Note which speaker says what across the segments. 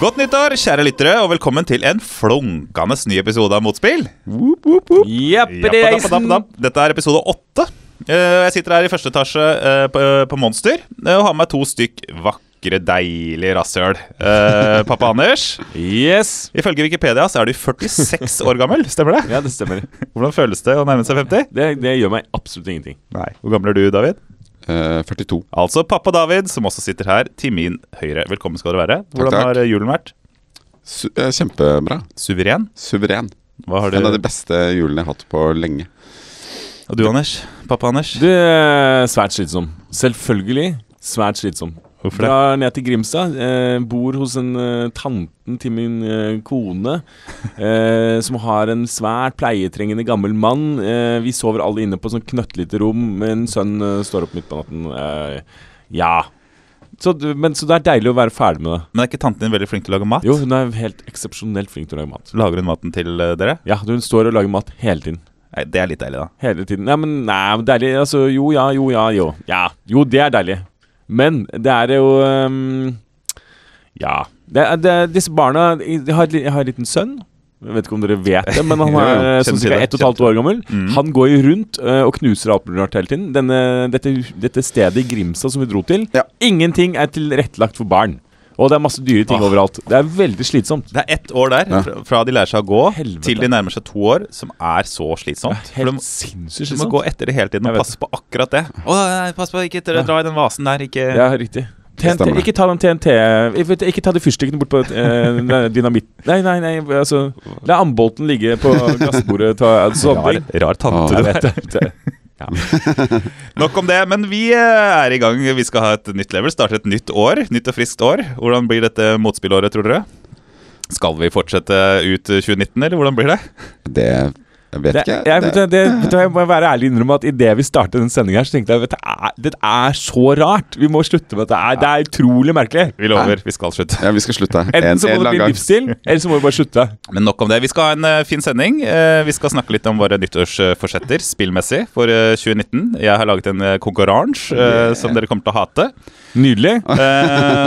Speaker 1: Godt nyttår, kjære lyttere, og velkommen til en flunkende ny episode av Motspill.
Speaker 2: Jepp,
Speaker 1: Jappa,
Speaker 2: det er
Speaker 1: dappa, dappa,
Speaker 2: isen.
Speaker 1: dapp. Dette er episode åtte. Eh, Jeg sitter her i første etasje eh, på på Monster eh, og har med meg to stykk vakre, deilige rasshøl. Eh, Pappa Anders,
Speaker 2: Yes.
Speaker 1: ifølge Wikipedia så er du 46 år gammel, stemmer det?
Speaker 2: Ja, det stemmer.
Speaker 1: Hvordan føles det å nærme seg 50?
Speaker 2: Det, det gjør meg absolutt ingenting.
Speaker 1: Nei. Hvor gammel er du, David?
Speaker 3: Eh, 42.
Speaker 1: Altså pappa David, som også sitter her til min høyre. Velkommen skal dere være. Hvordan
Speaker 3: takk.
Speaker 1: har julen vært?
Speaker 3: Su eh, kjempebra.
Speaker 1: Suveren?
Speaker 3: Suveren.
Speaker 1: Hva har
Speaker 3: En av de
Speaker 1: du?
Speaker 3: beste julene jeg har hatt på lenge.
Speaker 1: Og du, Anders? Pappa Anders?
Speaker 2: Du er svært slitsom. Selvfølgelig svært slitsom.
Speaker 1: Hvorfor det?
Speaker 2: Drar ned til Grimstad, eh, bor hos en eh, tanten til min eh, kone, eh, som har en svært pleietrengende gammel mann. Eh, vi sover alle inne på sånn knøttlite rom, men sønnen eh, står opp midt på natten. Eh, ja. Så, du- men, så det er deilig å være ferdig med det.
Speaker 1: Men er ikke tanten din veldig flink til å lage mat?
Speaker 2: Jo, hun er helt eksepsjonelt flink til å lage mat.
Speaker 1: Lager hun maten til eh, dere?
Speaker 2: Ja, hun står og lager mat hele tiden.
Speaker 1: Nei, Det er litt deilig, da.
Speaker 2: Hele tiden. Nei, men nei, men deilig. Altså, jo, ja, jo, ja, jo. Ja, jo, det er deilig. Men det er jo ehm, Ja. Det, er- det, er- disse barna jeg har, et li- jeg har en liten sønn. Jeg vet ikke om dere vet det, men han
Speaker 1: Jo, jo,
Speaker 2: er
Speaker 1: kjenner
Speaker 2: sånn cirka
Speaker 1: til det,
Speaker 2: ett og et halvt år gammel.
Speaker 1: Mm.
Speaker 2: Han går jo rundt eh, og knuser alt mulig rart hele tiden. Denne, dette, dette stedet i Grimstad som vi dro til,
Speaker 3: Ja.
Speaker 2: ingenting er tilrettelagt for barn. Og det er masse dyre ting
Speaker 1: Åh.
Speaker 2: overalt. Det er veldig slitsomt.
Speaker 1: Det er ett år der,
Speaker 3: Ja.
Speaker 1: fra- fra de lærer seg å gå
Speaker 2: Helvete.
Speaker 1: til de nærmer seg to år, som er så slitsomt. For de,
Speaker 2: Helt sinnssykt
Speaker 1: de må
Speaker 2: slitsomt.
Speaker 1: gå etter det hele tiden
Speaker 2: Jeg
Speaker 1: og
Speaker 2: vet
Speaker 1: passe på akkurat det. Å, nei, pass på, ikke dra i den vasen der. Ikke
Speaker 2: Ja, riktig. TNT,
Speaker 3: stemmer.
Speaker 2: ikke ta den TNT jeg vet, Ikke ta de fyrstikkene bort på eh, dynamitt Nei, nei, nei, altså La ambolten ligge på glassbordet. Ta,
Speaker 1: Rar,
Speaker 2: sånne ting.
Speaker 1: rar tante,
Speaker 3: Ja,
Speaker 1: du
Speaker 3: jeg
Speaker 1: vet. Nok om det, men vi eh, er i gang. Vi skal ha et nytt level, starte et nytt år. Nytt og friskt år. Hvordan blir dette motspillåret, tror dere? Skal vi fortsette ut 2019, eller hvordan blir det?
Speaker 3: Det jeg vet
Speaker 2: Det,
Speaker 3: ikke.
Speaker 2: jeg, vet,
Speaker 3: det,
Speaker 2: du, det, vet du, jeg må være ærlig og innrømme at idet vi startet den sendinga, tenkte jeg at det er, det er så rart. Vi må slutte med at det er, det er utrolig merkelig.
Speaker 1: Vi lover, vi skal slutte.
Speaker 3: ja, vi skal slutte. En, en
Speaker 2: Enten så må det
Speaker 3: eller annen
Speaker 2: bli
Speaker 3: gang.
Speaker 2: livsstil, eller så må vi bare slutte.
Speaker 1: Men nok om det. Vi skal ha en eh, fin sending. Eh, vi skal snakke litt om våre nyttårsforsetter spillmessig for eh, 2019. Jeg har laget en uh, konkurranse eh, som dere kommer til å hate.
Speaker 2: Nydelig.
Speaker 3: Ah.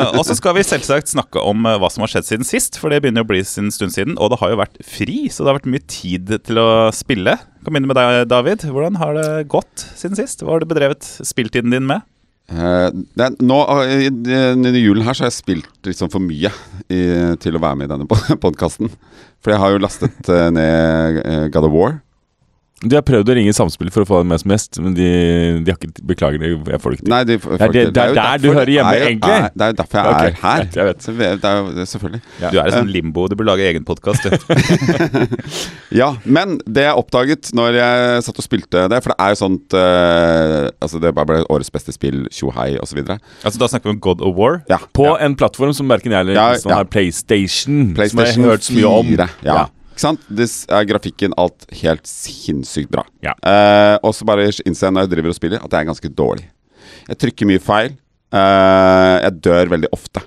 Speaker 1: Eh, og så skal vi selvsagt snakke om eh, hva som har skjedd siden sist, for det begynner å bli sin stund siden. Og det har jo vært fri, så det har vært mye tid til å spille. Jeg kan begynne med deg, David. Hvordan har det gått siden sist? Hva har du bedrevet spilltiden din med?
Speaker 3: Eh, det, er- nå, eh, i, i, I julen her så har jeg spilt litt sånn for mye i, til å være med i denne podkasten. For jeg har jo lastet eh, ned eh, God of War.
Speaker 2: De har prøvd å ringe Samspill for å få deg med som gjest, men de, de har ikke Beklager, det, jeg får det ikke til.
Speaker 3: Nei, de, folk-
Speaker 2: det- det er der
Speaker 3: jo
Speaker 2: du
Speaker 3: derfor-
Speaker 2: hører hjemme,
Speaker 3: det er jo-
Speaker 2: egentlig.
Speaker 3: er- Det er jo derfor jeg
Speaker 2: Ok,
Speaker 3: er her.
Speaker 2: greit, jeg vet.
Speaker 3: Så vi- Det er jo selvfølgelig.
Speaker 2: Ja.
Speaker 1: Du er i sånn limbo. Du burde lage egen podkast.
Speaker 3: Ja, men det jeg oppdaget når jeg satt og spilte det For det er jo sånt eh, Altså det bare ble årets beste spill, tjohei osv.
Speaker 1: altså, da snakker vi om God of War.
Speaker 3: Ja.
Speaker 2: På en plattform som verken jeg eller
Speaker 3: Ja,
Speaker 2: Kristian
Speaker 3: ja.
Speaker 2: har PlayStation. som
Speaker 3: PlayStation
Speaker 2: jeg har hørt så mye om.
Speaker 3: 4. Ja.
Speaker 2: Ja.
Speaker 3: Ikke sant? This er grafikken alt helt sinnssykt bra.
Speaker 2: Ja.
Speaker 3: Eh, og så bare innser jeg når jeg driver og spiller, at jeg er ganske dårlig. Jeg trykker mye feil. eh, jeg dør veldig ofte.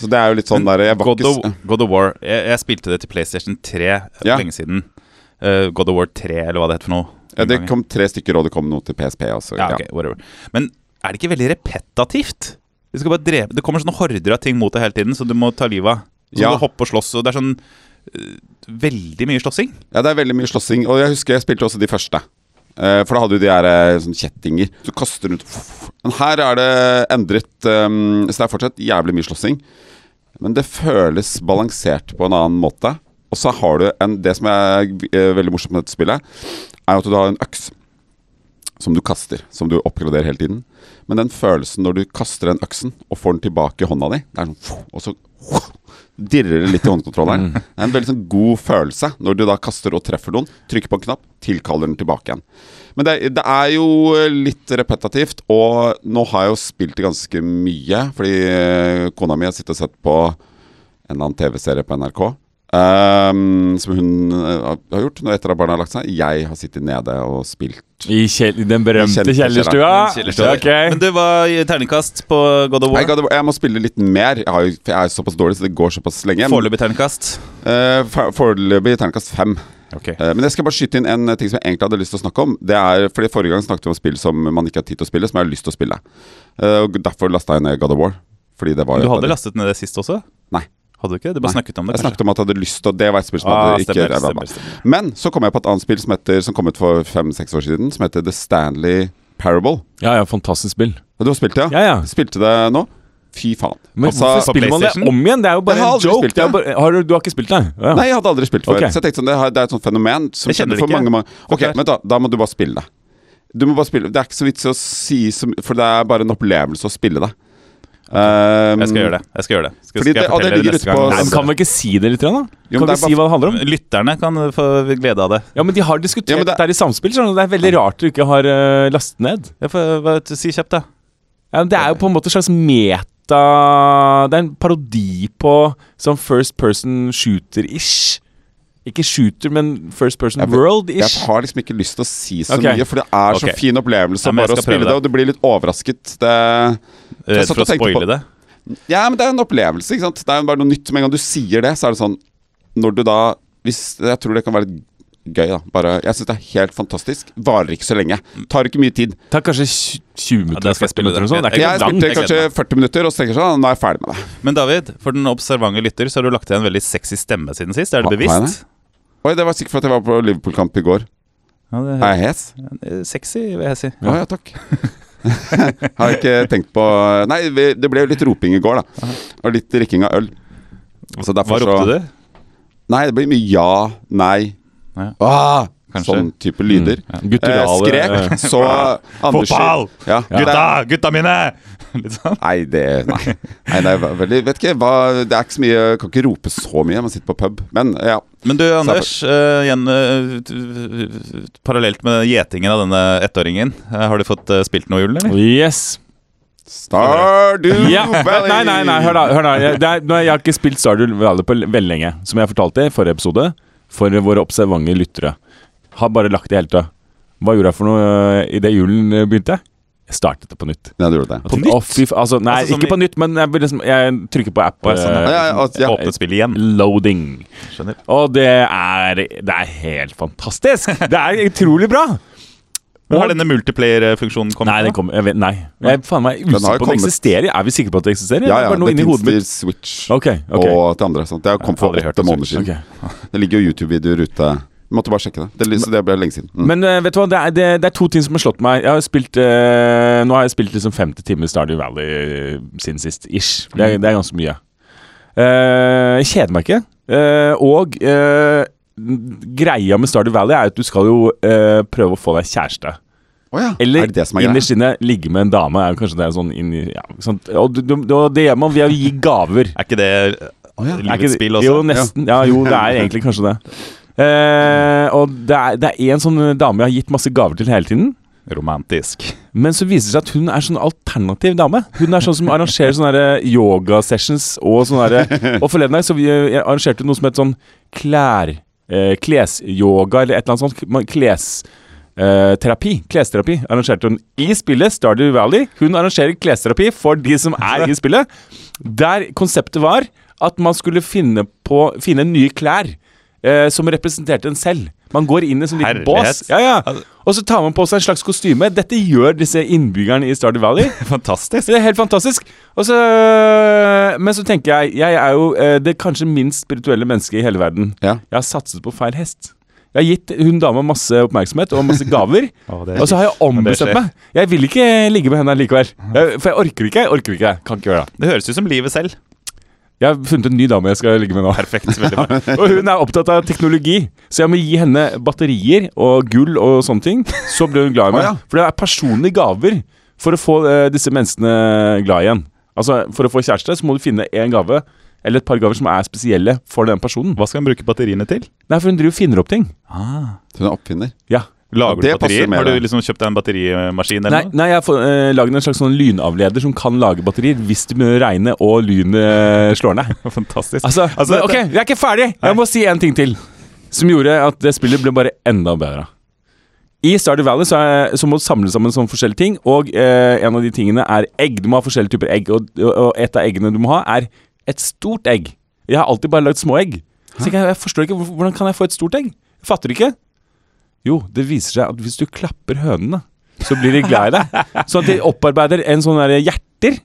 Speaker 3: Så det er jo litt sånn der Jeg var
Speaker 1: God
Speaker 3: ikke
Speaker 1: of,
Speaker 3: s-
Speaker 1: God of War. Jeg, jeg spilte det til PlayStation 3 for
Speaker 3: Ja.
Speaker 1: lenge siden. Eh, God of War 3, eller hva det het for noe.
Speaker 3: ja, Det kom tre stykker, og det kom noe til PSP også.
Speaker 1: ja, ok, whatever. Men er det ikke veldig repetativt? Du skal bare drepe. Det kommer sånne horder av ting mot deg hele tiden, så du må ta livet av. Så
Speaker 3: Ja.
Speaker 1: du hopper og slåss, og det er sånn eh, Veldig mye slåssing.
Speaker 3: Ja, det er veldig mye slåssing. Og jeg husker jeg spilte også de første. Eh, for da hadde jo de her eh, sånne kjettinger. Du kaster rundt Men her er det endret ehm, Så det er fortsatt jævlig mye slåssing. Men det føles balansert på en annen måte. Og så har du en Det som er eh, veldig morsomt med dette spillet, er jo at du har en øks som du kaster. Som du oppgraderer hele tiden. Men den følelsen når du kaster den øksen og får den tilbake i hånda di Det er sånn Og så dirrer det litt i håndkontrolleren. Det er en veldig sånn god følelse når du da kaster og treffer noen. Trykker på en knapp, tilkaller den tilbake igjen. Men det, det er jo litt repetitivt, og nå har jeg jo spilt det ganske mye. Fordi eh, kona mi har sittet og sett på en eller annen TV-serie på NRK. ehm, som hun eh, har gjort når etter at barna har lagt seg. Jeg har sittet nede og spilt.
Speaker 2: I kjell, den berømte
Speaker 3: Kjente
Speaker 2: kjellerstua.
Speaker 1: Kjellerstua.
Speaker 2: Ok.
Speaker 1: Men du var i terningkast på God of
Speaker 3: Nei,
Speaker 1: War.
Speaker 3: God, jeg må spille litt mer. Jeg, har, jo- for jeg er såpass dårlig, så det går såpass lenge. Men,
Speaker 1: Foreløpig terningkast.
Speaker 3: eh, for- Foreløpig terningkast fem. Eh, Men jeg skal bare skyte inn en ting som jeg egentlig hadde lyst til å snakke om. Det er, fordi Forrige gang snakket vi om spill som man ikke har tid til å spille, som jeg har lyst til å spille. Eh, Og Derfor lasta jeg ned God of War. Fordi det var
Speaker 1: Du
Speaker 3: jo et av
Speaker 1: hadde
Speaker 3: de-
Speaker 1: lastet ned det sist også?
Speaker 3: Nei.
Speaker 1: Hadde du ikke det? Du bare
Speaker 3: Nei.
Speaker 1: snakket om det,
Speaker 3: Jeg
Speaker 1: kanskje?
Speaker 3: snakket om at jeg hadde lyst til og Det var et spill som
Speaker 1: Ah,
Speaker 3: hadde ikke
Speaker 1: stemmer,
Speaker 3: ræva
Speaker 1: stemmer,
Speaker 3: meg.
Speaker 1: stemmer.
Speaker 3: Men så kom jeg på et annet spill som, heter, som kom ut for fem-seks år siden, som heter The Stanley Parable.
Speaker 2: Ja, ja, fantastisk spill.
Speaker 3: Og Du har spilt det,
Speaker 2: Ja, ja.
Speaker 3: Spilte det nå? Fy faen.
Speaker 2: Men
Speaker 3: Altså,
Speaker 2: hvorfor spiller man det
Speaker 1: PlayStation?
Speaker 2: om igjen? Det er jo
Speaker 3: Jeg
Speaker 2: bare
Speaker 3: har
Speaker 2: en
Speaker 3: aldri
Speaker 2: joke.
Speaker 3: spilt
Speaker 2: Det er
Speaker 3: det.
Speaker 2: bare, har du, du har ikke spilt det? Ja.
Speaker 3: Nei, jeg hadde aldri spilt før.
Speaker 2: Ok.
Speaker 3: Så jeg tenkte sånn, det, har- det er et sånt fenomen som
Speaker 1: Jeg kjenner
Speaker 3: kjenner for
Speaker 1: det ikke.
Speaker 3: mange, mange Ok,
Speaker 1: Forklar.
Speaker 3: men da, da må du bare spille det. Du må bare spille Det er ikke så vits å si som For det er bare en opplevelse å spille det. Um,
Speaker 1: Jeg skal gjøre det. jeg skal gjøre det Skal,
Speaker 3: Fordi
Speaker 1: skal jeg
Speaker 3: det- og det
Speaker 1: fortelle
Speaker 3: ligger
Speaker 1: neste
Speaker 3: ute på-
Speaker 1: gang?
Speaker 2: Nei, men
Speaker 1: Nei,
Speaker 2: kan vi ikke si det litt, grann, da?
Speaker 3: altså- Jo, men
Speaker 2: kan vi
Speaker 3: det er bare-
Speaker 2: si hva det handler om?
Speaker 1: Lytterne kan få glede av det.
Speaker 2: Ja, men De har diskutert
Speaker 3: Ja, men
Speaker 2: det...
Speaker 3: det-
Speaker 2: her i samspill, så det er veldig rart du ikke har eh, lastet ned.
Speaker 1: Jeg får, hva- si kjapt, da.
Speaker 2: Ja, men det er jo på en måte en slags meta Det er en parodi på sånn first person shooter-ish. Ikke shooter, men first person
Speaker 3: Jeg vet- Jeg
Speaker 2: world-ish.
Speaker 3: har liksom ikke lyst til å si så
Speaker 2: Ok.
Speaker 3: mye, for det er så
Speaker 1: Ok.
Speaker 3: fin opplevelse
Speaker 1: Ja, men jeg
Speaker 3: bare å
Speaker 1: skal
Speaker 3: spille
Speaker 1: prøve
Speaker 3: det.
Speaker 1: det.
Speaker 3: og du blir litt overrasket. Det,
Speaker 1: Redd
Speaker 3: satt
Speaker 1: Eh, for å
Speaker 3: og tenkte på-
Speaker 1: spoile det.
Speaker 3: ja, men det er en opplevelse, ikke sant. Det er jo bare noe nytt. Med en gang du sier det, så er det sånn Når du da hvis, Jeg tror det kan være litt gøy, da. Bare, jeg syns det er helt fantastisk. Varer ikke så lenge. Tar ikke mye tid.
Speaker 2: Tar kanskje tj- 20
Speaker 1: Ja,
Speaker 2: minutter.
Speaker 1: det skal jeg
Speaker 2: 40
Speaker 1: spille
Speaker 2: minutter
Speaker 1: det.
Speaker 2: eller sånn. Det er
Speaker 1: Jeg-
Speaker 3: Jeg
Speaker 2: ikke
Speaker 1: langt,
Speaker 3: spilte
Speaker 1: jeg
Speaker 3: kanskje
Speaker 1: gleder
Speaker 3: 40 minutter, og så tenker jeg sånn Nå er jeg ferdig med det.
Speaker 1: Men David, for den observante lytter så har du lagt igjen en veldig sexy stemme siden sist. Er det
Speaker 3: Har- har jeg
Speaker 1: bevisst?
Speaker 3: Oi, det var sikkert for at jeg var på Liverpool-kamp i går.
Speaker 1: Ja, det
Speaker 3: Er jeg hes?
Speaker 1: er sexy, vil jeg si.
Speaker 3: Å ja, takk. Har jeg ikke tenkt på Nei, vi- det ble jo litt roping i går, da. Og litt drikking av øl. Så
Speaker 1: Hva
Speaker 3: derfor så-
Speaker 1: ropte du?
Speaker 3: Nei, det blir mye ja, nei,
Speaker 1: Ja.
Speaker 3: ah,
Speaker 1: Kanskje. Mm,
Speaker 3: sånn type lyder.
Speaker 2: langt. Gutturale
Speaker 3: eh,
Speaker 2: eh,
Speaker 3: skrek, så Anders
Speaker 1: Fotball!
Speaker 3: Ja.
Speaker 1: Gutta! Gutta mine! Litt sånn.
Speaker 3: Nei, det Nei, nei, nei hva- veldig, vet ikke hva Det er ikke så mye Kan ikke rope så mye når man sitter på pub. Men ja.
Speaker 1: Men du, Anders. eh, igjen, eh, t- t- t- parallelt med gjetingen av denne ettåringen, eh, har du fått eh, spilt noe i julen, eller?
Speaker 2: Yes.
Speaker 3: Stardew
Speaker 2: Ja.
Speaker 3: Valley!
Speaker 2: Nei, nei, nei, hør da. Hør da. Jeg, det er, nå, jeg har ikke spilt Stardew Valley på l- veldig lenge, som jeg fortalte i forrige episode, for våre observante lyttere. Har bare lagt det helt død. Hva gjorde jeg for noe eh, idet julen eh, begynte? Jeg startet det på nytt.
Speaker 3: Ja, du gjorde det.
Speaker 2: På nytt? altså, nei,
Speaker 1: Altså, som
Speaker 2: ikke
Speaker 1: i-
Speaker 2: på nytt, men jeg, blir liksom, jeg trykker på app.
Speaker 1: Å, ja, sånn,
Speaker 2: eh,
Speaker 3: Ja, ja, altså, ja.
Speaker 1: Åpnet spillet igjen.
Speaker 2: Loading.
Speaker 1: Skjønner.
Speaker 2: Og det er, det er helt fantastisk! Det er utrolig bra!
Speaker 1: Men har denne multiplayer-funksjonen kommet?
Speaker 2: Nei, den kommer jeg vet, Nei. Jeg er faen meg usikker
Speaker 3: har
Speaker 2: på om den
Speaker 3: kommet.
Speaker 2: eksisterer. Er vi sikre på at det eksisterer?
Speaker 3: Ja,
Speaker 2: Det
Speaker 3: ja,
Speaker 2: er bare noe
Speaker 3: det
Speaker 2: inni
Speaker 3: finnes
Speaker 2: hodet
Speaker 3: til
Speaker 2: mitt.
Speaker 3: Switch
Speaker 2: Ok, ok.
Speaker 3: og til andre. Sant? Det kom for
Speaker 1: aldri hørt
Speaker 3: åtte
Speaker 1: om
Speaker 3: måneder siden.
Speaker 2: ok.
Speaker 3: Det ligger jo YouTube-videoer ute. Vi måtte bare sjekke det. det. li- Så det ble lenge siden. Mm.
Speaker 2: Men eh, vet du hva, det er, det, det er to ting som har slått meg. Jeg har spilt, eh, nå har jeg spilt liksom 50 timer Stardew Valley eh, siden sist. Ish. Det er, det er ganske mye. Eh, jeg kjeder meg ikke. Eh, og eh, greia med Stardew Valley er at du skal jo eh, prøve å få deg kjæreste.
Speaker 3: Å ja.
Speaker 2: Eller
Speaker 3: er det det som er greia?
Speaker 2: innerst inne ligge med en dame. Er jo kanskje det er sånn inni, ja, sånn- Og du- du- og det gjør man ved å gi gaver.
Speaker 1: Er ikke det
Speaker 3: Å,
Speaker 2: Er
Speaker 3: ja.
Speaker 2: ikke
Speaker 1: livets
Speaker 2: det-
Speaker 1: spill også?
Speaker 2: Jo, nesten. Ja. jo, det er egentlig kanskje det. Eh, og det er, det er en sånn dame jeg har gitt masse gaver til hele tiden.
Speaker 1: Romantisk.
Speaker 2: Men så viser det seg at hun er sånn alternativ dame. Hun er sånn som arrangerer sånne der yoga-sessions og sånne der Og forleden dag så vi eh, arrangerte noe som het sånn klær... Eh, klesyoga eller et eller annet sånt. Man- Kles... eh, terapi, Klesterapi arrangerte hun i spillet Stardew Valley. Hun arrangerer klesterapi for de som er i spillet. Der konseptet var at man skulle finne, på, finne nye klær eh, som representerte en selv. Man går inn i en sånn liten bås.
Speaker 1: Herlighet.
Speaker 2: Ja, ja.
Speaker 1: Altså-
Speaker 2: Og så tar man på seg en slags kostyme. Dette gjør disse innbyggerne i Stardew Valley.
Speaker 1: Fantastisk.
Speaker 2: Så det er helt fantastisk. Og så, men så tenker jeg Jeg er jo eh, det kanskje minst spirituelle mennesket i hele verden.
Speaker 3: Ja.
Speaker 2: Jeg har satset på feil hest. Jeg har gitt hun dama masse oppmerksomhet og masse gaver.
Speaker 1: Å, det er
Speaker 2: og så har jeg
Speaker 1: men det
Speaker 2: ombestemt
Speaker 1: skjer.
Speaker 2: meg. Jeg vil ikke ligge med henne likevel. Jeg, for jeg orker ikke. jeg orker ikke, jeg Kan ikke gjøre det.
Speaker 1: Det høres ut som livet selv.
Speaker 2: Jeg har funnet en ny dame jeg skal ligge med nå.
Speaker 1: Perfekt. veldig bra
Speaker 2: Og hun er opptatt av teknologi, så jeg må gi henne batterier og gull og sånne ting. Så blir hun glad i meg.
Speaker 3: Å, ja.
Speaker 2: For det er personlige gaver for å få eh, disse menneskene glad igjen. Altså, For å få kjæreste så må du finne én gave eller et par gaver som er spesielle for den personen.
Speaker 1: Hva skal man bruke batteriene til?
Speaker 2: Nei, for hun driver og finner opp ting.
Speaker 3: Hun er oppfinner.
Speaker 2: Ja.
Speaker 1: Lager
Speaker 3: Ja,
Speaker 1: du
Speaker 3: det passer
Speaker 1: batterier?
Speaker 3: med
Speaker 1: Har du
Speaker 3: det.
Speaker 1: liksom kjøpt deg en batterimaskin
Speaker 2: Nei,
Speaker 1: eller noe?
Speaker 2: nei, jeg har fått, eh, lagd en slags sånn lynavleder som kan lage batterier hvis det begynner å regne og lynet slår ned.
Speaker 1: Fantastisk.
Speaker 2: Altså,
Speaker 1: Altså,
Speaker 2: men, ok,
Speaker 1: dette-
Speaker 2: jeg er ikke ferdig! Jeg må si en ting til. Som gjorde at det spillet ble bare enda bedre. I Stardew Valley så, er, så må du samle sammen sånne forskjellige ting, og eh, en av de tingene er egg. Du må ha forskjellige typer egg, og, og, og et av eggene du må ha, er et stort egg. Jeg har alltid bare lagd små egg. Så tenker jeg, jeg forstår ikke, hvor- Hvordan kan jeg få et stort egg? Jeg fatter ikke. Jo, det viser seg at hvis du klapper hønene, så blir de glad i deg. Sånn at de opparbeider en sånn derre hjerter.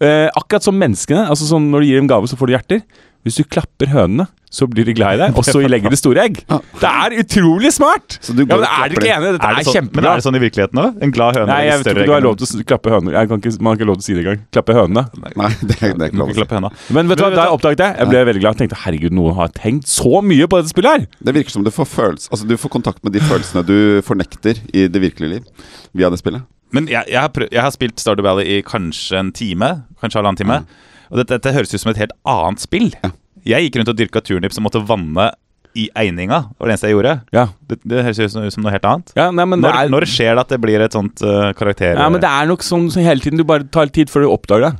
Speaker 2: Eh, akkurat som menneskene. altså sånn Når du gir dem gave, så får du hjerter. Hvis du klapper hønene, så blir de glad i deg, og så legger de store egg. Det er utrolig smart!
Speaker 3: Så du
Speaker 2: ja,
Speaker 3: går
Speaker 2: men
Speaker 3: og
Speaker 2: Er dere
Speaker 3: klapper
Speaker 2: ikke enige? Dette
Speaker 1: Er
Speaker 2: er,
Speaker 1: det sånn, men
Speaker 2: kjempebra.
Speaker 1: er det sånn i virkeligheten òg? En glad høne?
Speaker 2: Nei, jeg
Speaker 1: eller
Speaker 2: vet
Speaker 1: større
Speaker 2: ikke, du har
Speaker 1: egg?
Speaker 2: lov til å s- klappe høner. Jeg kan ikke, man har ikke lov til å si det engang. Klappe hønene.
Speaker 3: Nei, det, det er
Speaker 1: Du
Speaker 3: ikke
Speaker 1: må
Speaker 3: lov å
Speaker 1: ikke
Speaker 3: si.
Speaker 1: klappe høna.
Speaker 2: Men vet du hva,
Speaker 1: Men vet
Speaker 2: da
Speaker 1: du-
Speaker 2: oppdaget jeg Jeg ble veldig glad. Jeg tenkte herregud, noen har tenkt så mye på dette spillet her!
Speaker 3: Det virker som du får følelse Altså du får kontakt med de følelsene du fornekter i det virkelige liv via det spillet.
Speaker 1: Men jeg, jeg, har prøv, jeg har spilt Stardew Valley i kanskje en time, kanskje halvannen time. Og dette, dette høres ut som et helt annet spill. Jeg gikk rundt og dyrka turnips og måtte vanne i eininga. Det var det eneste jeg gjorde.
Speaker 2: Ja,
Speaker 1: Det, det høres ut som, som noe helt annet.
Speaker 2: ja nei, men det
Speaker 1: Når,
Speaker 2: er,
Speaker 1: når skjer det at det blir et sånt eh, karakter...
Speaker 2: ja, men det er nok sånn som hele tiden. Du bare tar litt tid før du oppdager det.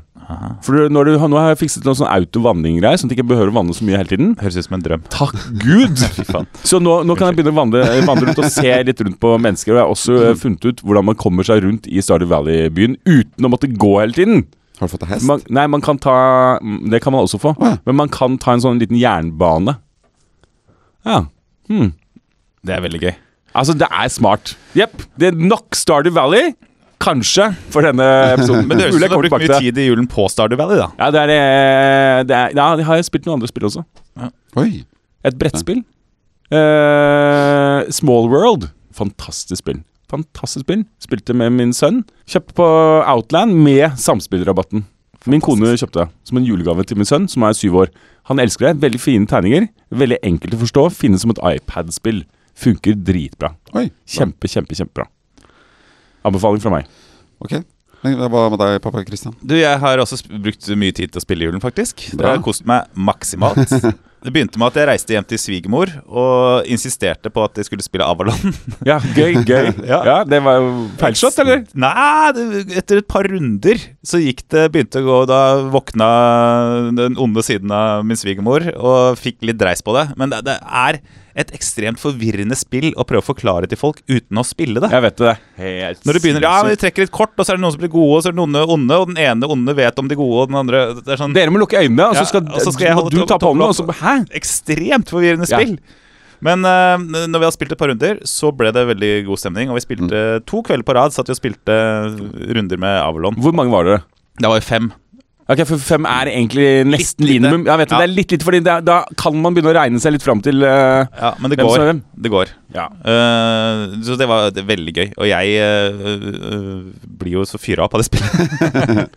Speaker 2: For du- når du, nå har jeg fikset noen sånn autovannning-greier, sånn at jeg ikke behøver å vanne så mye hele tiden.
Speaker 1: Høres ut som en drøm.
Speaker 2: Takk Gud! Så nå, nå kan jeg begynne å vandre, vandre rundt og se litt rundt på mennesker. Og jeg har også eh, funnet ut hvordan man kommer seg rundt i Stardew Valley-byen uten å måtte gå hele tiden.
Speaker 3: Har du fått deg hest?
Speaker 2: Man, nei, man kan ta mm, Det kan man også få. Men man kan ta en sånn liten jernbane. Ja. Hmm.
Speaker 1: Det er veldig gøy.
Speaker 2: Altså, det er smart. Jepp. Det er nok Stardew Valley, kanskje, for denne episoden.
Speaker 1: Men det høres ut som
Speaker 2: Mulig jeg
Speaker 1: du har
Speaker 2: kommer
Speaker 1: brukt
Speaker 2: tilbake
Speaker 1: mye
Speaker 2: til det.
Speaker 1: tid i julen på Stardew Valley, da.
Speaker 2: Ja, det er, eh, det er, ja, jeg har spilt noen andre spill også.
Speaker 3: Oi.
Speaker 2: Et brettspill. Eh, Small World. Fantastisk spill. Fantastisk spill. Spilte med min sønn. Kjøpte på Outland med samspillrabatten. Min kone kjøpte det som en julegave til min sønn, som er syv år. Han elsker det. Veldig fine tegninger. Veldig enkelt å forstå. Finnes som et iPad-spill. Funker dritbra.
Speaker 3: Oi.
Speaker 2: Kjempe, kjempe, kjempebra. Anbefaling fra meg.
Speaker 3: Ok. Men Hva med deg, pappa Christian?
Speaker 1: Du, jeg har også sp- brukt mye tid til å spille i julen, faktisk. Det
Speaker 3: Bra.
Speaker 1: har kost meg maksimalt. Det begynte med at jeg reiste hjem til svigermor og insisterte på at jeg skulle spille Avalon.
Speaker 2: Ja, gøy, gøy.
Speaker 1: Ja.
Speaker 2: Ja, det var jo feilslått, eller?
Speaker 1: Nei, det, etter et par runder så gikk det begynte å gå Da våkna den onde siden av min svigermor og fikk litt dreis på det. Men det, det er et ekstremt forvirrende spill å prøve å forklare til folk uten å spille det.
Speaker 2: Jeg vet det. Helt
Speaker 1: Når du begynner, ja, men Vi trekker litt kort, og så er det noen som blir gode, og så er det noen onde, og den ene onde vet om de gode, og den andre Det er sånn
Speaker 2: Dere må lukke øynene, og
Speaker 1: Ja,
Speaker 2: så skal,
Speaker 1: og så skal jeg
Speaker 2: må
Speaker 1: holde
Speaker 2: du
Speaker 1: to-
Speaker 2: ta på
Speaker 1: tommel
Speaker 2: hånda, og
Speaker 1: opp.
Speaker 2: så Hæ?
Speaker 1: ekstremt forvirrende
Speaker 2: Ja.
Speaker 1: spill. Men eh, når vi har spilt et par runder, så ble det veldig god stemning. Og vi spilte to kvelder på rad, satt vi og spilte runder med Avalon.
Speaker 2: Hvor mange var dere?
Speaker 1: Det var jo fem.
Speaker 2: Ok, for Fem er egentlig nesten
Speaker 1: Litt lite.
Speaker 2: minimum. Jeg vet det,
Speaker 1: Ja.
Speaker 2: det er litt lite, fordi det, er- da kan man begynne å regne seg litt fram til eh,
Speaker 1: Ja, men det
Speaker 2: Hvem som
Speaker 1: går.
Speaker 2: er hvem?
Speaker 1: Det går.
Speaker 2: Ja.
Speaker 1: Eh, så det var det er veldig gøy. Og jeg eh, eh, blir jo så fyra opp av det spillet.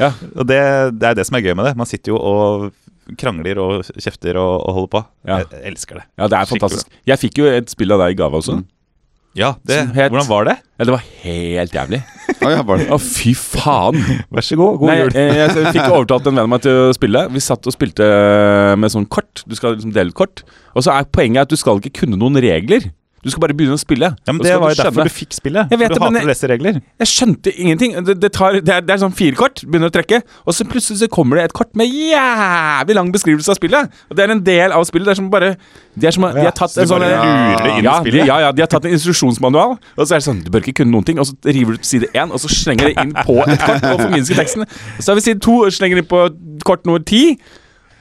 Speaker 2: Ja.
Speaker 1: Og det, det er det som er gøy med det. Man sitter jo og krangler og kjefter og, og holder på.
Speaker 2: Ja.
Speaker 1: Jeg, jeg elsker det.
Speaker 2: ja, det er
Speaker 1: Skikkelig
Speaker 2: fantastisk. Jeg fikk jo et spill av deg i gave også.
Speaker 1: Mm. Ja, det,
Speaker 2: Som het-
Speaker 1: Hvordan var det?
Speaker 2: Ja, Det var helt jævlig.
Speaker 3: Å ja, var det
Speaker 2: Å, fy faen!
Speaker 1: Vær så god.
Speaker 2: Nei, eh, jeg fikk overtalt en venn av meg til å spille. Vi satt og spilte med sånn kort. Du skal liksom dele ut kort. Og så er poenget at du skal ikke kunne noen regler. Du skal bare begynne å spille.
Speaker 1: Ja, men
Speaker 2: Og så
Speaker 1: Det
Speaker 2: skal
Speaker 1: var jo
Speaker 2: du skjønne.
Speaker 1: derfor du fikk spillet.
Speaker 2: Jeg vet
Speaker 1: for
Speaker 2: det,
Speaker 1: du
Speaker 2: men
Speaker 1: hater å lese regler.
Speaker 2: Jeg skjønte ingenting. Det, det, tar, det, er, det er sånn fire kort, begynner å trekke, og så plutselig så kommer det et kort med jævlig lang beskrivelse av spillet. Og Det er en del av spillet. Det er som bare De, er som, de har tatt
Speaker 1: Så
Speaker 2: en
Speaker 1: du
Speaker 2: sånn
Speaker 1: bare lurer inn i
Speaker 2: ja, de,
Speaker 1: spillet?
Speaker 2: ja, ja, de har tatt en instruksjonsmanual, og så er det sånn Du bør ikke kunne noen ting. Og så river du ut side én, og så slenger det inn på et kort og forminsker teksten. Så har vi side to, og slenger inn på kort nummer ti.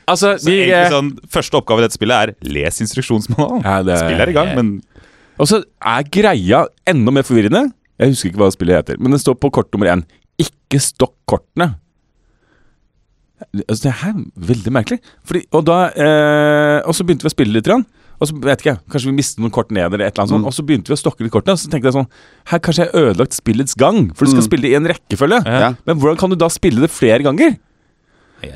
Speaker 2: Altså, de
Speaker 1: Egentlig
Speaker 2: eh,
Speaker 1: sånn, Første oppgave i dette spillet er les instruksjonsmanualen.
Speaker 2: Ja, det er-
Speaker 1: Spillet er i gang, men
Speaker 2: Og så er greia enda mer forvirrende. Jeg husker ikke hva spillet heter, men det står på kort nummer én. Ikke stokk kortene. Altså, det her er veldig merkelig. Fordi, og, da, eh, og så begynte vi å spille litt. Grann. Og så vet ikke jeg, Kanskje vi mistet noen kort ned, eller et eller
Speaker 1: Mm.
Speaker 2: annet sånt. Og så begynte vi å stokke litt kortene. Og så tenkte jeg sånn Her kanskje jeg har ødelagt spillets gang, for
Speaker 1: Mm.
Speaker 2: du skal spille det i en rekkefølge.
Speaker 3: Ja.
Speaker 2: Men hvordan kan du da spille det flere ganger?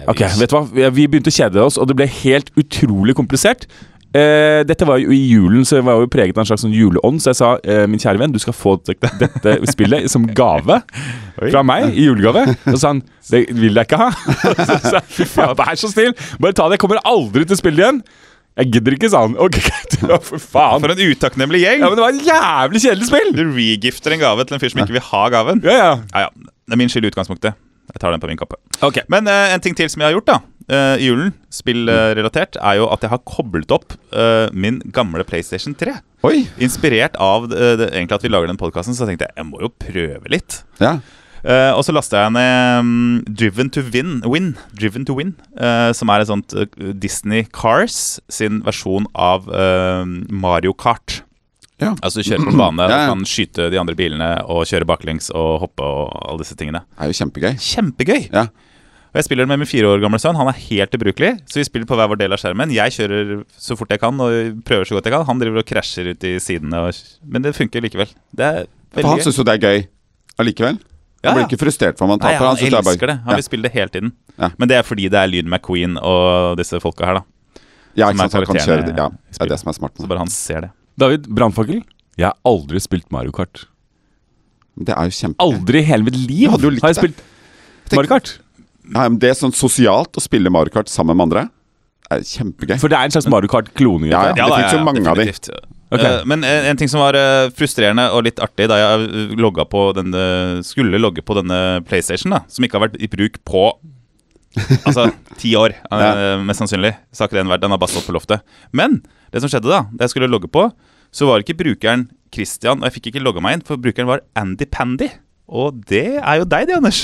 Speaker 2: Ok, vet du hva? Vi- Vi begynte å kjede oss, og det ble helt utrolig komplisert. Eh, dette var jo i julen, så jeg var jo preget av en slags sånn juleånd. Så jeg sa eh, min kjære venn, du skal få dette dette spillet som gave fra meg i julegave. Og så sa han det vil jeg ikke ha. Så sa jeg fy faen, vær så snill, bare ta det. Jeg kommer aldri til å spille det igjen. Jeg gidder ikke, sa han. Ok, greit. Ja, For faen.
Speaker 1: For en utakknemlig gjeng!
Speaker 2: Ja, men det var et jævlig kjedelig spill.
Speaker 1: Du regifter en gave til en fyr som ikke vil ha gaven.
Speaker 2: Ja, ja.
Speaker 1: Ja, ja. Det er min skyld i utgangspunktet. Jeg tar den på min kappe.
Speaker 2: Ok.
Speaker 1: Men eh, en ting til som jeg har gjort da eh, i julen,
Speaker 3: Mm.
Speaker 1: spillrelatert, er jo at jeg har koblet opp eh, min gamle PlayStation 3.
Speaker 3: Oi!
Speaker 1: Inspirert av eh, det, egentlig at vi lager den podkasten, så tenkte jeg jeg må jo prøve litt.
Speaker 3: Ja.
Speaker 1: Eh, og så lasta jeg ned mm, Driven to Win, Win, Driven to Win eh, som er et sånt eh, Disney Cars sin versjon av eh, Mario Kart.
Speaker 3: Ja.
Speaker 1: Altså du kjører på en bane,
Speaker 3: Ja, ja.
Speaker 1: du kan skyte de andre bilene og kjøre baklengs og hoppe og alle disse tingene.
Speaker 3: Det er jo kjempegøy.
Speaker 1: Kjempegøy!
Speaker 3: Ja.
Speaker 1: Og jeg spiller med min fire år gamle sønn. Han er helt ubrukelig. Så vi spiller på hver vår del av skjermen. Jeg kjører så fort jeg kan og prøver så godt jeg kan. Han driver og krasjer ut i sidene. Og... Men det funker likevel. Det er
Speaker 3: For han
Speaker 1: veldig gøy.
Speaker 3: syns jo det er gøy allikevel. Han
Speaker 1: Ja, ja.
Speaker 3: blir ikke frustrert for om han
Speaker 1: Nei,
Speaker 3: taper.
Speaker 1: han
Speaker 3: synes er bare-
Speaker 1: elsker det. Han vil spille det hele tiden.
Speaker 3: Ja.
Speaker 1: Men det er fordi det er Lyn McQueen og disse folka her, da.
Speaker 3: Ja,
Speaker 1: som er
Speaker 3: ja ikke sant. Han kan
Speaker 1: karakterene
Speaker 3: kjøre det. Ja,
Speaker 1: i
Speaker 3: det er det som er smart.
Speaker 1: Så
Speaker 3: Med.
Speaker 1: bare han ser det.
Speaker 2: David, brannfakkel? Jeg har aldri spilt Mario Kart.
Speaker 3: det. Det er jo kjempe...
Speaker 2: Aldri i hele mitt liv
Speaker 3: Du hadde jo likt
Speaker 2: har jeg
Speaker 3: det.
Speaker 2: spilt Mario Kart.
Speaker 3: Ja, men det er sånn sosialt å spille Mario Kart sammen med andre. er kjempegøy.
Speaker 2: For det er en slags Mario Kart-klone.
Speaker 3: Ja, ja.
Speaker 2: Ja,
Speaker 3: det finnes jo mange av de.
Speaker 1: definitivt.
Speaker 2: Ok.
Speaker 1: Eh, men eh, en ting som var eh, frustrerende og litt artig da jeg eh, logga på denne, skulle logge på denne PlayStation, da, som ikke har vært i bruk på Altså ti år, eh,
Speaker 3: Ja.
Speaker 1: mest sannsynlig. Så har ikke den vært, den har bare stått på loftet. Men det som skjedde da, da jeg skulle logge på, så var ikke brukeren Christian, og jeg fikk ikke logga meg inn, for brukeren var Andy Pandy. Og det er jo deg, det, Anders.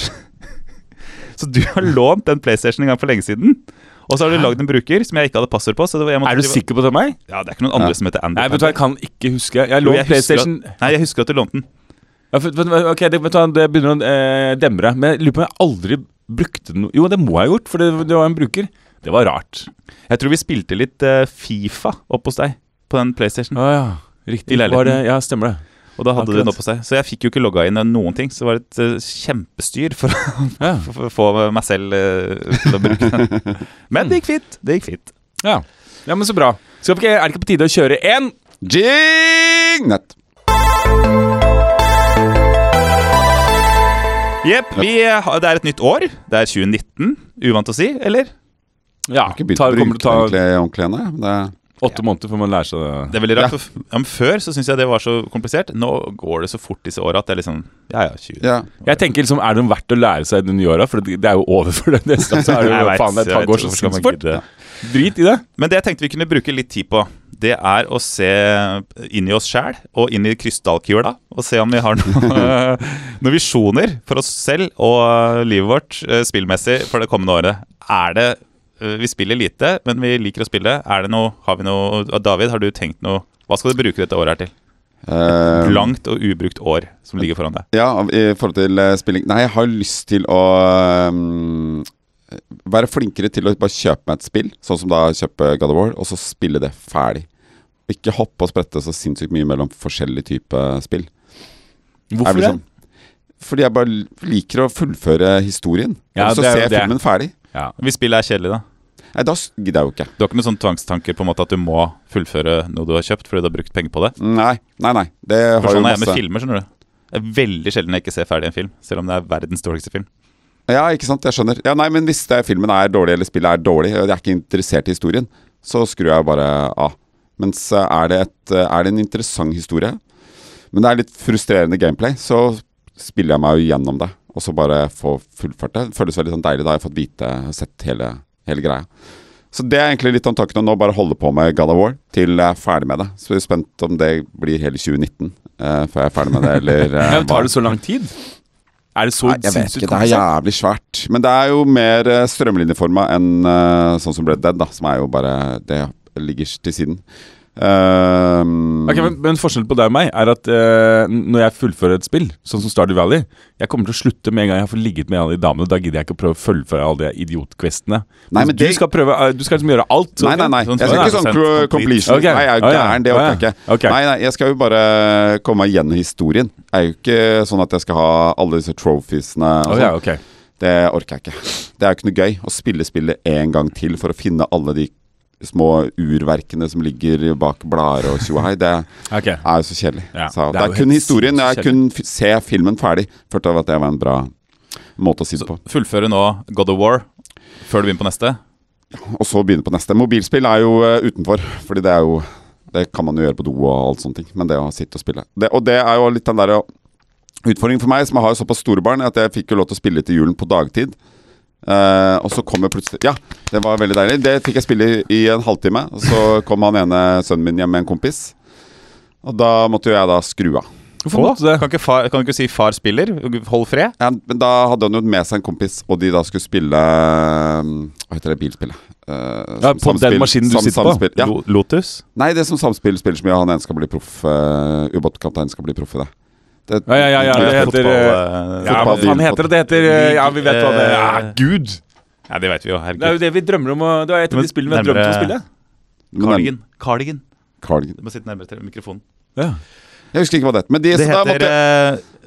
Speaker 1: Så du har lånt den PlayStation en gang for lenge siden. Og så har du lagd en bruker som jeg ikke hadde passord på. Så det var, jeg måtte
Speaker 2: Er du
Speaker 1: drive-
Speaker 2: sikker på det, meg?
Speaker 1: Ja, det er ikke noen andre som heter Andy.
Speaker 2: Nei, vet du hva, jeg kan ikke huske. Jeg lå
Speaker 1: Jo, jeg husker
Speaker 2: PlayStation
Speaker 1: at, Nei, jeg husker at du lånte den.
Speaker 2: Ja, for, for, ok, det, vet du, hva, det begynner å eh, demre. Men jeg lurer på om jeg aldri brukte den Jo, det må jeg ha gjort, for det, det var en bruker. Det var rart.
Speaker 1: Jeg tror vi spilte litt eh, Fifa opp hos deg på den PlayStation.
Speaker 2: Å ja. Riktig.
Speaker 1: I leiligheten.
Speaker 2: Var det, ja, stemmer det.
Speaker 1: Og da hadde du den
Speaker 2: akkurat.
Speaker 1: opp hos deg. Så jeg fikk jo ikke logga inn noen ting. Så det var et eh, kjempestyr for å
Speaker 2: Ja.
Speaker 1: for å få meg selv eh, til å bruke den. Men det gikk fint. Det gikk fint.
Speaker 2: ja. ja, men så bra. Skal vi ikke, er det ikke på tide å kjøre én?
Speaker 3: Jing! Nett.
Speaker 1: Jepp. vi har- Det er et nytt år. Det er 2019. Uvant å si, eller?
Speaker 2: Ja.
Speaker 3: Ikke begynt
Speaker 2: Ta,
Speaker 3: å bruke
Speaker 2: kommer
Speaker 3: det
Speaker 2: til å ta
Speaker 3: ordentlig ordentlig ennå. jeg, men det-
Speaker 2: åtte måneder før man lærer seg det.
Speaker 1: Det er veldig rart. for
Speaker 3: Ja.
Speaker 1: f- Ja. men før så syns jeg det var så komplisert. Nå går det så fort disse åra at det er liksom Ja, ja, 20.
Speaker 3: Ja.
Speaker 2: Jeg tenker liksom, Er det noe verdt å lære seg det nye året? For det det er jo over for det neste. Så er det
Speaker 1: Jeg
Speaker 2: jo
Speaker 1: vet,
Speaker 2: faen det er et
Speaker 1: jeg vet,
Speaker 2: halvår, så
Speaker 1: hvorfor skal
Speaker 2: skal
Speaker 1: man
Speaker 2: man bort.
Speaker 1: gidde?
Speaker 2: Drit i det.
Speaker 1: Men det jeg tenkte vi kunne bruke litt tid på, det er å se inn i oss sjæl og inn i krystallkula. Og se om vi har noen, noen visjoner for oss selv og livet vårt eh, spillmessig for det kommende året. Er det eh, Vi spiller lite, men vi liker å spille. Er det noe, har vi noe David, har du tenkt noe Hva skal du bruke dette året her til?
Speaker 3: Eh,
Speaker 1: Langt og ubrukt år som ligger foran deg.
Speaker 3: ja, i forhold til eh, spilling Nei, jeg har lyst til å mm, være flinkere til å bare kjøpe meg et spill, sånn som da kjøpe God of War, og så spille det ferdig. Ikke hoppe og sprette så sinnssykt mye mellom forskjellige typer spill. Er
Speaker 2: Hvorfor
Speaker 3: vel
Speaker 2: det?
Speaker 3: sånn. Fordi jeg bare liker å fullføre historien.
Speaker 2: Ja,
Speaker 3: og så
Speaker 2: det er
Speaker 3: ser
Speaker 2: jo
Speaker 3: jeg
Speaker 2: det.
Speaker 3: filmen ferdig.
Speaker 2: Ja.
Speaker 1: Hvis spillet er kjedelig, da?
Speaker 3: Nei, da s- gidder jeg jo ikke.
Speaker 1: Du har ikke noen sånn tvangstanker på en måte at du må fullføre noe du har kjøpt fordi du har brukt penger på det?
Speaker 3: Nei, nei, nei. Det
Speaker 1: For
Speaker 3: har jo
Speaker 1: sånn er jeg med
Speaker 3: masse
Speaker 1: filmer, skjønner du. Det er veldig sjelden jeg ikke ser ferdig en film, selv om det er verdens dårligste film.
Speaker 3: Ja, ikke sant, jeg skjønner. Ja, nei, men hvis det, filmen er dårlig, eller spillet er dårlig, og jeg er ikke interessert i historien, så skrur jeg bare av. Mens eh, er det, et, eh, er det en interessant historie, men det er litt frustrerende gameplay, så spiller jeg meg jo gjennom det, og så bare få fullført det. Det føles veldig sånn deilig, da har jeg fått vite, sett hele, hele greia. Så det er egentlig litt om tanken å nå bare holde på med God of War til jeg er ferdig med det. Så jeg er spent om det blir hele 2019 eh, før jeg er ferdig med det, eller eh,
Speaker 2: Ja, men
Speaker 3: hva-
Speaker 2: tar det så lang tid? Er det så
Speaker 3: Nei, jeg vet
Speaker 2: sinnssykt
Speaker 3: ikke, det
Speaker 2: komplisert?
Speaker 3: er jævlig svært. Men det er jo mer eh, strømlinjeforma enn eh, sånn som Red Dead, da, som er jo bare Det ligger til siden. Ehm,
Speaker 2: Ok, men, men forskjellen på deg og meg er at eh, når jeg fullfører et spill, sånn som Stardew Valley Jeg kommer til å slutte med en gang jeg får ligget med alle de damene. Da gidder jeg ikke å prøve å følge alle de idiotquestene.
Speaker 3: Nei, men
Speaker 2: du,
Speaker 3: det-
Speaker 2: skal prøve, eh, du skal liksom gjøre alt. så-
Speaker 3: Nei, nei, nei.
Speaker 1: sånn
Speaker 3: Jeg skal ikke sånn
Speaker 1: 100%
Speaker 3: cro- completion.
Speaker 2: Ok,
Speaker 3: Nei, jeg er jo
Speaker 2: å ja,
Speaker 3: gæren. Det
Speaker 2: å
Speaker 3: orker jeg
Speaker 2: ja,
Speaker 3: ikke.
Speaker 2: ok.
Speaker 3: Nei, nei, jeg skal jo bare komme meg gjennom historien. Det er jo ikke sånn at jeg skal ha alle disse trophiesene. og
Speaker 2: Å
Speaker 3: sånn.
Speaker 2: ja, ok.
Speaker 3: Det orker jeg ikke. Det er jo ikke noe gøy å spille spillet en gang til for å finne alle de små urverkene som ligger bak blader og tjohei. Det
Speaker 2: Ok.
Speaker 3: er jo så kjedelig.
Speaker 2: Ja, det
Speaker 3: så det
Speaker 2: er
Speaker 3: er,
Speaker 2: jo
Speaker 3: kun
Speaker 2: helt
Speaker 3: historien. Jeg
Speaker 2: sinnssykt
Speaker 3: kun f se filmen ferdig. Følte jeg at det var en bra måte å si det på.
Speaker 1: Fullføre nå God of War før du begynner på neste.
Speaker 3: Og så begynne på neste. Mobilspill er jo eh, utenfor, fordi det er jo Det kan man jo gjøre på do og alt sånne ting, men det å sitte og spille det, Og det er jo litt den der eh, utfordringen for meg, som jeg har såpass store barn, at jeg fikk jo lov til å spille til julen på dagtid. Eh, og så kom jeg plutselig Ja, det var veldig deilig. Det fikk jeg spille i, i en halvtime. Og så kom han ene sønnen min hjem med en kompis. Og da måtte jo jeg da skru av.
Speaker 2: Hvorfor måtte du det?
Speaker 1: Kan ikke, far, kan ikke si 'far spiller'? Hold fred.
Speaker 3: Ja, men da hadde han jo med seg en kompis, og de da skulle spille um, Hva heter det bilspillet? Eh,
Speaker 2: Ja,
Speaker 3: som
Speaker 2: på den maskinen du
Speaker 3: som
Speaker 2: sitter på?
Speaker 3: samspill. Eh, Ja.
Speaker 1: Lo- Lotus.
Speaker 3: Nei, det er sånn som samspill spiller så mye, og han ene skal bli proff. Uh, Ubåtkapteinen skal bli proff i det. det
Speaker 2: Ja, ja, ja, ja, det
Speaker 1: Eh,
Speaker 2: heter
Speaker 1: fotball,
Speaker 2: eh,
Speaker 1: eh,
Speaker 2: Ja, hva
Speaker 1: fotball-
Speaker 2: faen heter det? Det heter eh, Ja, vi vet hva det er.
Speaker 1: Eh,
Speaker 2: Gud!
Speaker 1: Ja, det veit vi jo,
Speaker 2: Det er
Speaker 1: herregud.
Speaker 2: jo det vi drømmer om å, Det er et av de spillene vi har drømt om å spille.
Speaker 3: Men-
Speaker 1: Cardigan. Cardigan.
Speaker 3: Cardigan.
Speaker 1: Du må sitte nærmere til mikrofonen.
Speaker 2: Ja.
Speaker 3: Jeg husker ikke hva det het. Men de,
Speaker 1: Det
Speaker 3: så da
Speaker 1: heter
Speaker 3: måtte,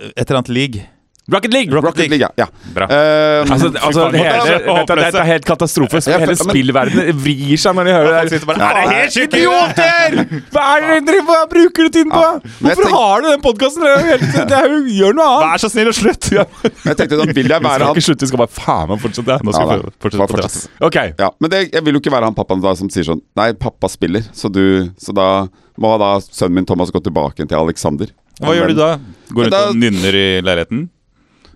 Speaker 1: eh, et eller annet league.
Speaker 2: Rocket League!
Speaker 3: Rocket League, ja. ja.
Speaker 1: Bra.
Speaker 3: Eh,
Speaker 2: Altså, altså
Speaker 1: faen,
Speaker 2: det
Speaker 1: det er
Speaker 2: hele,
Speaker 1: så
Speaker 2: vet du, Dette er helt katastrofe.
Speaker 3: Jeg
Speaker 2: Hele
Speaker 3: føler- men-
Speaker 2: spillverdenen vrir seg når de hører det.
Speaker 1: sitter bare,
Speaker 2: Hva
Speaker 1: "Er det helt sjukt?"
Speaker 2: idioter?! Hva er det dere driver med? Hva bruker du tiden på?
Speaker 3: Ja, men jeg
Speaker 2: Hvorfor
Speaker 3: tenk-
Speaker 2: har du den podkasten? Gjør noe annet!
Speaker 1: Vær så snill og slutt! Ja.
Speaker 3: jeg tenkte da vil jeg
Speaker 2: Vi
Speaker 3: være
Speaker 2: skal
Speaker 3: han
Speaker 2: ikke slutte, vi skal bare faen meg fortsette.
Speaker 1: Nå
Speaker 3: Ja,
Speaker 1: skal
Speaker 3: da.
Speaker 1: vi fortsette
Speaker 3: Bare
Speaker 1: på
Speaker 3: fortsett.
Speaker 1: dass.
Speaker 2: Ok,
Speaker 3: Ja, men det, jeg vil jo ikke være han pappaen da som sier sånn Nei, pappa spiller, så du Så da må da sønnen min Thomas gå tilbake til Alexander.
Speaker 1: Hva gjør du da? Går rundt
Speaker 3: Da-
Speaker 1: og nynner i leiligheten?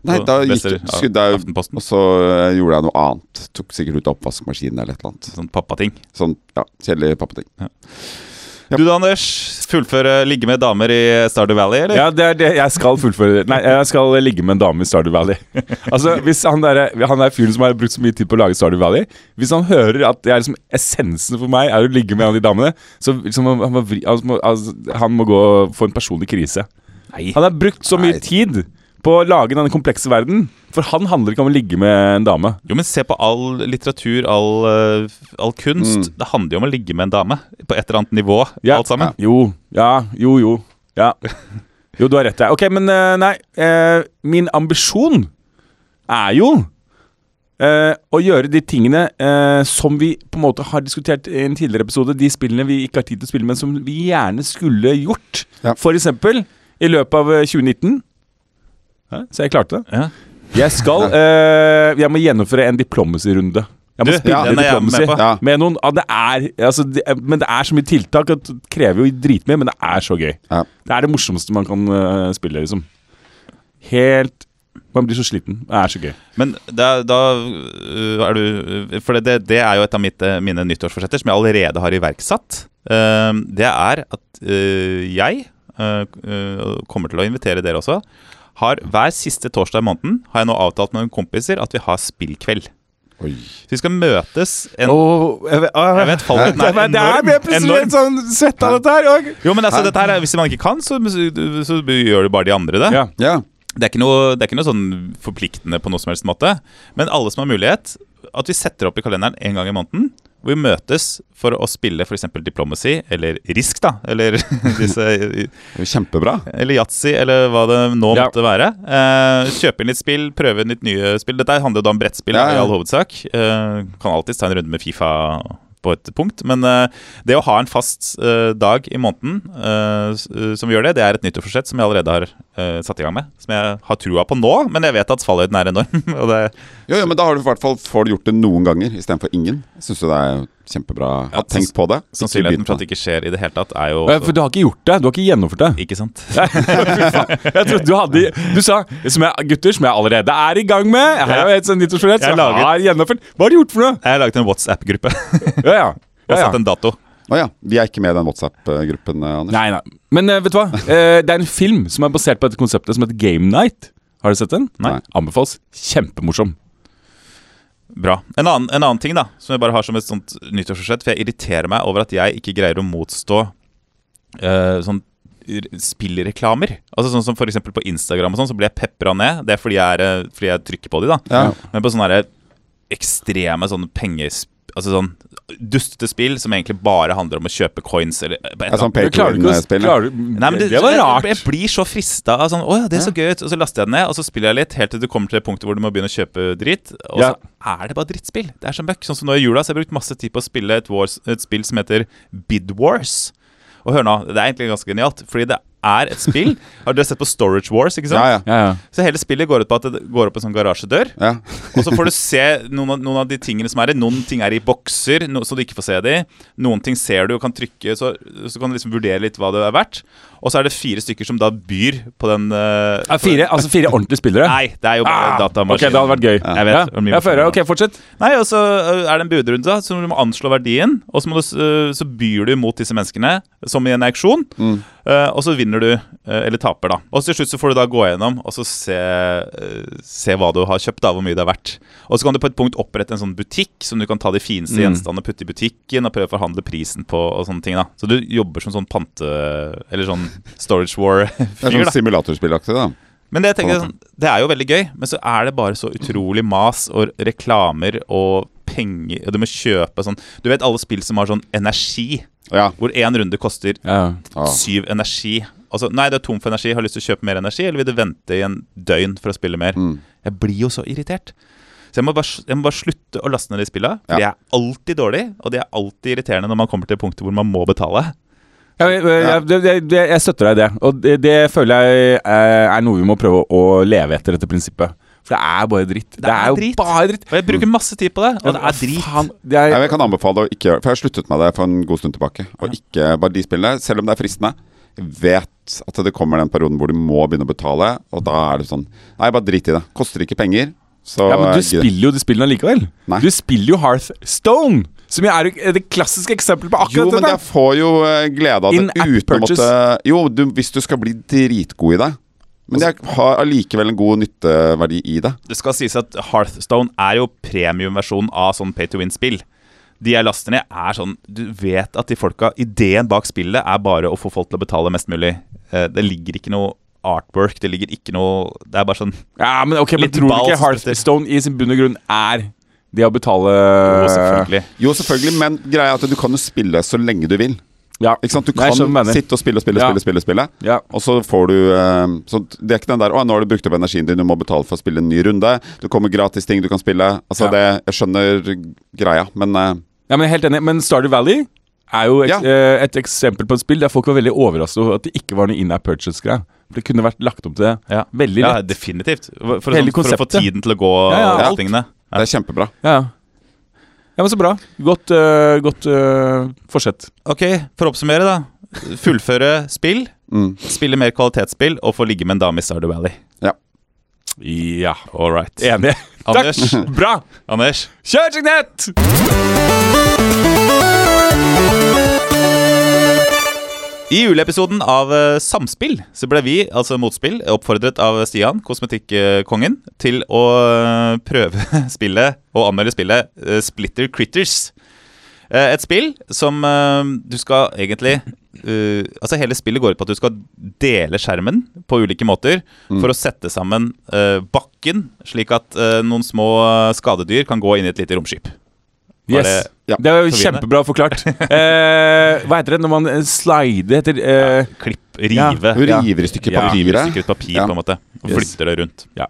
Speaker 3: Nei, da
Speaker 1: Og
Speaker 3: gikk,
Speaker 1: leser
Speaker 3: skudde jeg
Speaker 1: Aftenposten?
Speaker 3: Og så eh, gjorde jeg noe annet. Tok sikkert ut av oppvaskmaskinen eller et eller annet.
Speaker 1: Sånn pappating.
Speaker 3: Sånn ja, kjedelig pappating.
Speaker 1: Du da, Anders. Fullføre ligge med damer i Stardew Valley, eller?
Speaker 2: ja, det er det jeg skal fullføre. Nei, jeg skal ligge med en dame i Stardew Valley. Altså, hvis han der, han der fyren som har brukt så mye tid på å lage Stardew Valley Hvis han hører at det er liksom essensen for meg er å ligge med en av de damene, så liksom, han, må vri, altså, må, altså, han må gå og få en personlig krise.
Speaker 1: Nei.
Speaker 2: Han har brukt så mye
Speaker 3: Nei.
Speaker 2: tid på å lage denne komplekse verden, for han handler ikke om å ligge med en dame.
Speaker 1: Jo, men se på all litteratur, all, eh, all kunst. Det handler jo om å ligge med en dame på et eller annet nivå.
Speaker 2: Mm. Ja.
Speaker 1: alt sammen.
Speaker 2: Jo, ja, jo, jo. Ja. Jo, du har rett der. Ok, men eh, nei. eh, min ambisjon er jo eh, å gjøre de tingene eh, som vi på en måte har diskutert i en tidligere episode. De spillene vi ikke har tid til å spille, men som vi gjerne skulle gjort.
Speaker 3: Ja.
Speaker 2: For eksempel i løpet av eh, 2019. Ja, så jeg klarte det.
Speaker 1: Ja.
Speaker 2: Jeg skal eh, Jeg må gjennomføre en diplomacy-runde. Jeg må
Speaker 1: Du,
Speaker 2: spille
Speaker 1: ja, den er jeg med
Speaker 2: diplomacy
Speaker 1: på.
Speaker 2: med,
Speaker 3: Ja.
Speaker 2: noen. Ja, det er, altså, det, er- men det er så mye tiltak at det krever jo dritmye, men det er så gøy.
Speaker 3: Ja.
Speaker 2: Det er det morsomste man kan eh, spille, liksom. Helt Man blir så sliten. Det er så gøy.
Speaker 1: Men da, da øh, er du øh, For det, det, det er jo et av mitt, øh, mine nyttårsforsetter som jeg allerede har iverksatt. Ehm, Det er at øh, jeg, øh, øh, kommer til å invitere dere også, har hver siste torsdag i måneden har jeg nå avtalt med noen kompiser at vi har spillkveld.
Speaker 3: Oi.
Speaker 1: Så vi skal møtes en
Speaker 2: jeg vet,
Speaker 1: Jeg vet fallheten
Speaker 2: det,
Speaker 1: er
Speaker 2: er- det er
Speaker 1: enorm.
Speaker 2: ble jeg plutselig
Speaker 1: enorm.
Speaker 2: litt sånn svett av dette her og-
Speaker 1: Jo, men altså, dette her, er- Hvis man ikke kan, så, så, så gjør du bare de andre det.
Speaker 2: Ja.
Speaker 3: Ja.
Speaker 1: Det er, ikke noe, det er ikke noe sånn forpliktende på noe som helst måte. Men alle som har mulighet, at vi setter opp i kalenderen en gang i måneden. Hvor vi møtes for å spille f.eks. Diplomacy eller Risk, da. Eller, disse,
Speaker 3: det er jo Kjempebra.
Speaker 1: eller Yatzy, eller hva det nå
Speaker 2: Ja.
Speaker 1: måtte være. Eh, kjøpe inn litt spill, prøve litt nye spill. Dette handler jo da om brettspill
Speaker 3: Ja, ja.
Speaker 1: i all hovedsak. Eh, kan alltids ta en runde med Fifa på et punkt. Men eh, det å ha en fast eh, dag i måneden eh, s- eh, som vi gjør det, det er et nyttårsforsett som jeg allerede har eh, satt i gang med. Som jeg har trua på nå, men jeg vet at fallhøyden er enorm. og det,
Speaker 3: Jo, jo, men da har du i hvert fall får du gjort det noen ganger istedenfor ingen. Syns du det er kjempebra?
Speaker 1: Ja,
Speaker 3: Har tenkt på det? Ikke
Speaker 1: sannsynligheten
Speaker 3: begynt
Speaker 1: for
Speaker 3: på
Speaker 1: at det ikke skjer i det hele tatt, er jo
Speaker 2: Ja, For du har ikke gjort det. Du har ikke gjennomført det.
Speaker 1: Ikke sant?
Speaker 2: Jeg trodde du hadde Du sa som jeg, gutter som jeg allerede er i gang med. Jeg har jo et sånt nyttårsforsett som
Speaker 1: Jeg laget-
Speaker 2: jeg har gjennomført. Hva har du gjort for noe?
Speaker 1: Jeg har laget en WhatsApp-gruppe og
Speaker 2: Ja, ja. ja, ja.
Speaker 1: satt en dato.
Speaker 3: Å ja. Vi er ikke med i den WhatsApp-gruppen, eh, Anders.
Speaker 2: Nei, nei. Men eh, vet du hva? Eh, det er en film som er basert på dette konseptet, som heter Game Night. Har du sett den?
Speaker 3: Nei.
Speaker 2: Anbefales. Kjempemorsom.
Speaker 1: Bra. En annen, en annen ting da som jeg bare har som et sånt nyttårsforsett, for jeg irriterer meg over at jeg ikke greier å motstå eh, sånn r- spillreklamer. Altså sånn som for eksempel på Instagram og sånn, så blir jeg pepra ned. Det er fordi jeg, er, eh, fordi jeg trykker på de, da.
Speaker 3: Ja.
Speaker 1: Men på sånne der ekstreme sånne penges... Altså sånn dustete spill som egentlig bare handler om å kjøpe coins eller eh, på et
Speaker 3: Ja,
Speaker 1: eller
Speaker 3: sånn
Speaker 1: annet.
Speaker 2: Du klarer du ikke å
Speaker 3: pay-to-win-spill. ja.
Speaker 2: klarer, du-
Speaker 1: Nei, men
Speaker 2: det, var rart.
Speaker 1: Jeg, jeg blir så frista av sånn Å ja, det er så gøy ut. Og så laster jeg den ned, og så spiller jeg litt helt til du kommer til det punktet hvor du må begynne å kjøpe dritt. Og
Speaker 2: Ja.
Speaker 1: så er det bare drittspill. Det er som møkk. Sånn som nå i jula, så har jeg brukt masse tid på å spille et, wars, et spill som heter Bid Wars. Og hør nå, det er egentlig ganske genialt, fordi det er et spill. Har dere sett på Storage Wars, ikke sant?
Speaker 3: Ja, ja.
Speaker 2: Ja, ja.
Speaker 1: Så hele spillet går ut på at det går opp en sånn garasjedør.
Speaker 3: Ja.
Speaker 1: Og så får du se noen av, noen av de tingene som er i. Noen ting er i bokser, no, så du ikke får se de. Noen ting ser du og kan trykke, så, så kan du liksom vurdere litt hva det er verdt. Og så er det fire stykker som da byr på den eh,
Speaker 2: Ja, fire, altså fire ordentlige spillere?
Speaker 1: Nei, det er jo bare
Speaker 2: Ah, ok,
Speaker 1: datamaskin.
Speaker 2: det hadde vært gøy.
Speaker 1: Jeg vet, det var mye
Speaker 2: jeg
Speaker 1: morsommere
Speaker 2: føler,
Speaker 1: da.
Speaker 2: ok, Fortsett.
Speaker 1: Nei, og så ø, er det en budrunde, da, så du må anslå verdien. Og så, må du, s- ø, så byr du mot disse menneskene, som i en auksjon.
Speaker 3: Mm.
Speaker 1: ø, og så vinner du, ø, eller taper, da. Og så til slutt så får du da gå gjennom og så se, ø, se hva du har kjøpt, da, hvor mye det er verdt. Og så kan du på et punkt opprette en sånn butikk som du kan ta de fineste
Speaker 3: Mm.
Speaker 1: gjenstandene og putte i butikken og prøve å forhandle prisen på og sånne ting. da Så du jobber som sånn pante... Eller sånn storage
Speaker 3: Det er
Speaker 1: war-fyr,
Speaker 3: sånn
Speaker 1: da.
Speaker 3: simulatorspillaktig, da.
Speaker 1: Men det, jeg tenker, sånn, det er jo veldig gøy, men så er det bare så utrolig mas og reklamer og penger Og du må kjøpe sånn Du vet alle spill som har sånn energi,
Speaker 3: Ja.
Speaker 1: hvor én runde koster
Speaker 2: Ja.
Speaker 3: Ja.
Speaker 1: syv energi. Altså, nei, du er tom for energi, har lyst til å kjøpe mer energi, eller vil du vente i en døgn for å spille mer?
Speaker 2: Mm.
Speaker 1: Jeg blir jo så irritert. Så jeg må bare, jeg må bare slutte å laste ned de spilla. For de
Speaker 3: Ja.
Speaker 1: er alltid dårlige, og de er alltid irriterende når man kommer til punktet hvor man må betale.
Speaker 2: Ja, jeg, jeg, jeg, jeg, jeg støtter deg i det. Og det, det føler jeg eh, er noe vi må prøve å leve etter, dette prinsippet. For det er bare dritt. Det,
Speaker 1: er
Speaker 2: er jo
Speaker 1: dritt.
Speaker 2: bare dritt.
Speaker 1: Og jeg bruker masse tid på det, og det er drit.
Speaker 2: Faen, det er,
Speaker 3: Nei, men jeg kan anbefale å ikke gjøre For jeg har sluttet med det for en god stund tilbake. Og ikke bare de spillene, selv om det er fristende. Jeg vet at det kommer den perioden hvor du må begynne å betale, og da er det sånn Nei, bare drit i det. Koster ikke penger, så
Speaker 2: Ja, men du
Speaker 3: gidder jeg ikke.
Speaker 2: spiller jo de spillene allikevel.
Speaker 3: Nei.
Speaker 2: Du spiller jo Hearthstone, som jo er jo det klassiske eksempelet på
Speaker 3: Jo,
Speaker 2: akkurat
Speaker 3: men jeg
Speaker 2: dette.
Speaker 3: får jo eh, glede av det
Speaker 2: In-app
Speaker 3: uten å
Speaker 2: purchase. Altså-
Speaker 3: måtte Jo, du, hvis du skal bli dritgod i det. Men jeg har allikevel en god nytteverdi i det.
Speaker 1: Det skal sies at Hearthstone er jo premiumversjonen av sånn pay to win-spill. De jeg laster ned, er sånn Du vet at de folka Ideen bak spillet er bare å få folk til å betale mest mulig. Eh, Det ligger ikke noe artwork, det ligger ikke noe Det er bare sånn
Speaker 2: Ja, men ok, men
Speaker 1: Litt
Speaker 2: tror du
Speaker 1: ball
Speaker 2: ikke
Speaker 1: som
Speaker 2: Hearthstone i sin bunn og grunn er det å betale Eh,
Speaker 1: Å, selvfølgelig.
Speaker 3: Jo, selvfølgelig, men greia er at du kan jo spille så lenge du vil.
Speaker 2: Ja.
Speaker 3: Ikke sant? Du
Speaker 2: Nei, jeg skjønner hva
Speaker 3: kan
Speaker 2: mener.
Speaker 3: sitte og spille, spille,
Speaker 2: Ja.
Speaker 3: spille, spille, spille.
Speaker 2: Ja.
Speaker 3: Og så får du eh, så Det er ikke den der 'Å, nå har du brukt opp energien din, du må betale for å spille en ny runde'. Du kommer gratis ting du kan spille.
Speaker 2: Ja.
Speaker 3: Altså, det, jeg skjønner greia, men eh,
Speaker 2: ja, men jeg er helt enig. Men Stardew Valley er jo et,
Speaker 3: Ja.
Speaker 2: eh, et eksempel på et spill der folk var veldig overrasket over at det ikke var noe in-app purchase-greie. For Det kunne vært lagt om til det
Speaker 1: Ja.
Speaker 2: veldig
Speaker 1: Ja,
Speaker 2: lett.
Speaker 1: definitivt. For, for,
Speaker 2: Hele
Speaker 1: sånn, for å få
Speaker 2: konseptet.
Speaker 1: tiden til å gå og
Speaker 2: Ja, ja,
Speaker 1: disse
Speaker 3: alt.
Speaker 1: tingene. Ja.
Speaker 3: det er kjempebra.
Speaker 2: Ja, ja. ja men så bra. Godt, eh, godt eh, forsett.
Speaker 1: Ok, for å oppsummere, da. Fullføre spill,
Speaker 3: Mm.
Speaker 1: spille mer kvalitetsspill og få ligge med en dame i Stardew Valley.
Speaker 2: Ja.
Speaker 1: All right.
Speaker 2: Enig.
Speaker 1: Anders.
Speaker 2: Takk. Bra.
Speaker 1: Anders,
Speaker 2: Kjør Signett!
Speaker 1: I juleepisoden av eh, Samspill så ble vi, altså Motspill, oppfordret av Stian, kosmetikkongen, til å eh, prøve spillet og anmelde spillet eh, Splitter Critters. Eh, Et spill som eh, du skal egentlig eh, Altså Hele spillet går ut på at du skal dele skjermen på ulike måter for å sette sammen eh, bakken, slik at eh, noen små eh, skadedyr kan gå inn i et lite romskip. Var
Speaker 2: Yes.
Speaker 1: det-
Speaker 2: Det,
Speaker 3: ja,
Speaker 2: var
Speaker 1: forvirrende?
Speaker 2: kjempebra forklart. Eh, hva heter det når man eh, slider etter eh,
Speaker 1: Klipp,
Speaker 2: Ja.
Speaker 1: rive.
Speaker 3: Du
Speaker 2: Ja.
Speaker 3: river i stykker
Speaker 1: Ja, river
Speaker 3: papiret.
Speaker 1: sikkert ut papir,
Speaker 3: Ja.
Speaker 1: på en måte. Og
Speaker 2: Yes.
Speaker 1: flytter det rundt.
Speaker 2: Ja.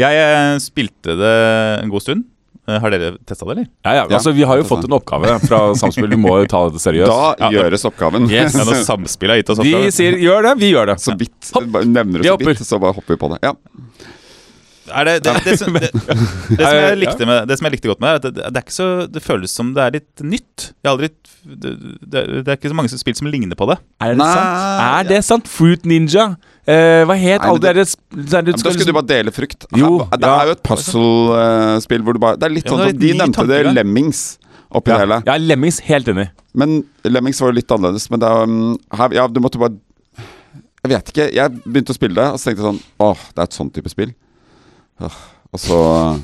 Speaker 1: Jeg eh, spilte det en god stund. Eh, Har dere testa det, eller?
Speaker 2: ja, ja,
Speaker 3: Ja.
Speaker 2: altså Vi har jo fått en oppgave fra Samspill, vi må jo ta dette seriøst.
Speaker 3: Da gjøres oppgaven.
Speaker 2: Yes.
Speaker 1: Ja, når samspillet har gitt oss
Speaker 2: de
Speaker 1: oppgave.
Speaker 2: sier 'gjør det', vi gjør det.
Speaker 3: Så vidt bare nevner du
Speaker 2: Vi
Speaker 3: så
Speaker 2: hopper.
Speaker 3: vidt, så bare hopper vi på det. Ja.
Speaker 1: Er det, det, det, som- det, det, som jeg likte med, det som jeg likte godt med det, er at det, det, er ikke så, det føles som det er litt nytt. Jeg har aldri, det, det det er ikke så mange som- spill som ligner på det.
Speaker 2: Er det
Speaker 3: Nei.
Speaker 2: sant? Er det sant? Fruit Ninja. Eh, hva het
Speaker 3: Nei,
Speaker 2: alle
Speaker 3: men
Speaker 2: de der
Speaker 3: Ja, men Da skulle
Speaker 2: liksom-
Speaker 3: du bare dele frukt. Her-
Speaker 2: Jo,
Speaker 3: det
Speaker 2: ja.
Speaker 3: er jo et puzzle-spill hvor du bare Det er litt
Speaker 1: Ja,
Speaker 3: sånn
Speaker 1: men det er
Speaker 3: som de
Speaker 1: litt ny
Speaker 3: nevnte det,
Speaker 1: tankegang.
Speaker 3: Lemmings. Oppi det hele.
Speaker 2: Ja, Lemmings. Helt enig.
Speaker 3: Men Lemmings var jo litt annerledes. Men det er, um, her, ja, du måtte bare Jeg vet ikke. Jeg begynte å spille det, og så tenkte jeg sånn Åh, det er et sånn type spill. Åh, og så eh,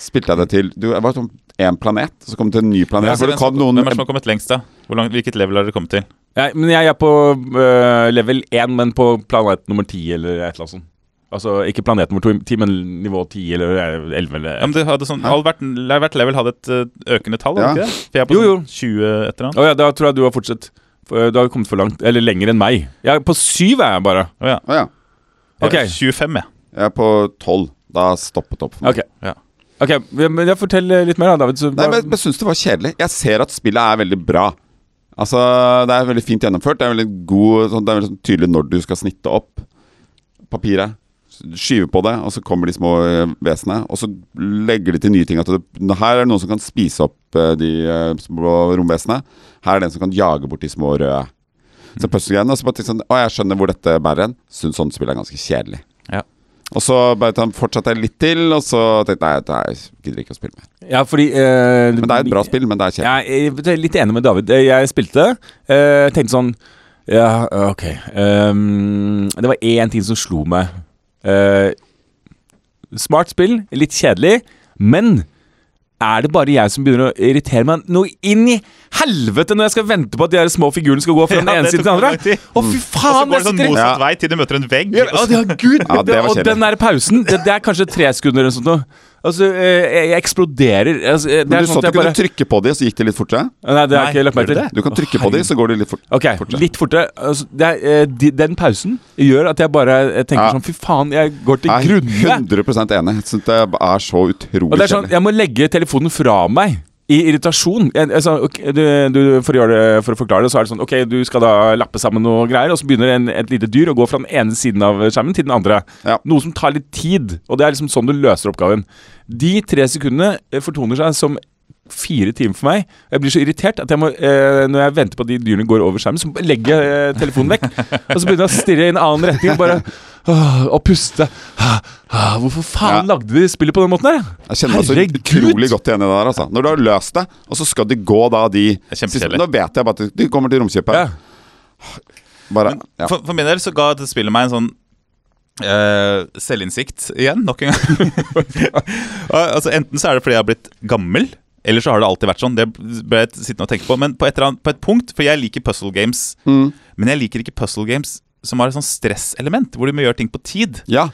Speaker 3: spilte jeg det til Du, jeg var sånn én planet, så kom det til en ny planet.
Speaker 1: Hvem
Speaker 3: hvor
Speaker 1: er
Speaker 3: det kom noen
Speaker 1: som har kommet lengst, da? Hvor langt, hvilket level har dere kommet til?
Speaker 2: Ja, men jeg er på eh, level 1, men på planet nummer 10 eller et eller annet sånt. Altså ikke planet nummer 2, 10, men nivå 10 eller 11 eller
Speaker 1: Ja, men det hadde sånn, all hvert, hvert level hadde et eh, økende tall,
Speaker 3: Ja.
Speaker 1: hadde ikke det? For jeg er på
Speaker 2: Jo, jo.
Speaker 1: sånn 20 et eller annet.
Speaker 2: Å ja, da tror jeg du har fortsatt for, eh, Du har kommet for langt, eller lenger enn meg Jeg er på syv er jeg bare
Speaker 1: Å ja.
Speaker 3: Å ja.
Speaker 1: Jeg er
Speaker 2: Ok.
Speaker 1: 25, jeg.
Speaker 3: Jeg er på tolv. Da stoppet det opp for meg.
Speaker 2: Ok,
Speaker 1: Ja.
Speaker 2: Ok, ja, men jeg forteller litt mer da, David så,
Speaker 3: Nei,
Speaker 2: hva-
Speaker 3: men jeg- Jeg syns det var kjedelig. Jeg ser at spillet er veldig bra. Altså, Det er veldig fint gjennomført. Det er veldig god, sånn, det er veldig sånn tydelig når du skal snitte opp papiret. Skyve på det, og så kommer de små eh, vesenene. Og så legger de til nye ting. At det, her er det noen som kan spise opp eh, de eh, små romvesenene. Her er det en som kan jage bort de små røde. Så puzzle-greiene, og så bare tenkte jeg sånn, Å, jeg skjønner hvor dette bærer hen. Syns sånt spill er ganske kjedelig.
Speaker 1: Ja.
Speaker 3: Og så bare ta- fortsatte jeg litt til, og så tenkte jeg nei, det her gidder jeg ikke å spille mer.
Speaker 2: Ja, fordi eh,
Speaker 3: Men det er et bra spill, men det er kjedelig.
Speaker 2: Jeg er litt enig med David. Jeg spilte, eh, tenkte sånn Ja, ok. ehm, det var én ting som slo meg. Eh, smart spill, litt kjedelig, men er det bare jeg som begynner å irritere meg noe inn i helvete når jeg skal vente på at de her små figurene skal gå fra den
Speaker 1: Ja,
Speaker 2: ene
Speaker 1: det
Speaker 2: siden til
Speaker 1: tok
Speaker 2: den
Speaker 1: lang tid.
Speaker 2: andre? Å,
Speaker 1: Og
Speaker 2: fy
Speaker 1: så
Speaker 2: faen!
Speaker 1: går
Speaker 2: Jeg
Speaker 1: det sånn
Speaker 2: sitter i
Speaker 1: motsatt vei til du møter en vegg.
Speaker 2: ja, å, ja, Gud,
Speaker 3: Ja, det var
Speaker 2: og
Speaker 3: kjedelig.
Speaker 2: den der pausen, det, det er kanskje tre sekunder eller sånt noe. Altså, eh, jeg, jeg eksploderer. Altså, eh, det
Speaker 3: Men
Speaker 2: er
Speaker 3: du så
Speaker 2: sånn
Speaker 3: at
Speaker 2: at jeg
Speaker 3: du kunne
Speaker 2: bare
Speaker 3: trykke på de, og så gikk det litt fortere?
Speaker 2: Nei, det har
Speaker 1: Nei,
Speaker 2: ikke jeg lagt merke
Speaker 1: gjør
Speaker 2: til.
Speaker 1: det?
Speaker 3: Du kan trykke på de, så går de litt fort.
Speaker 2: Ok,
Speaker 3: fortere.
Speaker 2: litt fortere. Altså, det er, eh, de, den pausen gjør at jeg bare eh, tenker
Speaker 3: Ja.
Speaker 2: sånn Fy faen, jeg går til
Speaker 3: Jeg er
Speaker 2: grunne.
Speaker 3: 100 enig. Jeg synes det er så utrolig
Speaker 2: Og det er sånn,
Speaker 3: kjedelig.
Speaker 2: jeg må legge telefonen fra meg i irritasjon. Jeg, jeg, sa, ok, du, du, for, å gjøre det, for å forklare det, så er det sånn Ok, du skal da lappe sammen noe greier, og så begynner en, et lite dyr å gå fra den ene siden av skjermen til den andre.
Speaker 3: Ja.
Speaker 2: Noe som tar litt tid, og det er liksom sånn du løser oppgaven. De tre sekundene eh, fortoner seg som fire timer for meg. Jeg blir så irritert at jeg må, eh, når jeg venter på at de dyrene går over skjermen, så legger jeg eh, telefonen vekk. og så begynner jeg å stirre i en annen retning og bare åh, og puste. Ah, ah, Hvorfor faen
Speaker 3: Ja.
Speaker 2: lagde de spillet på den måten her? da?
Speaker 3: Jeg kjenner meg så utrolig godt igjen i det der. Altså. Når du har løst det, og så skal de gå da de
Speaker 1: Det er kjempekjedelig.
Speaker 3: Nå vet jeg bare at de kommer til romskipet.
Speaker 2: Ja.
Speaker 3: Bare, ja.
Speaker 1: For, for min del så ga det spillet meg en sånn eh, selvinnsikt igjen, nok en gang. Al- altså Enten så er det fordi jeg har blitt gammel, eller så har det alltid vært sånn. Det ble jeg sittende og tenke på. Men på et, eller annet, på et punkt, for jeg liker puzzle games,
Speaker 2: Mm.
Speaker 1: men jeg liker ikke puzzle games som har et sånn stresselement, hvor du må gjøre ting på tid.
Speaker 3: ja.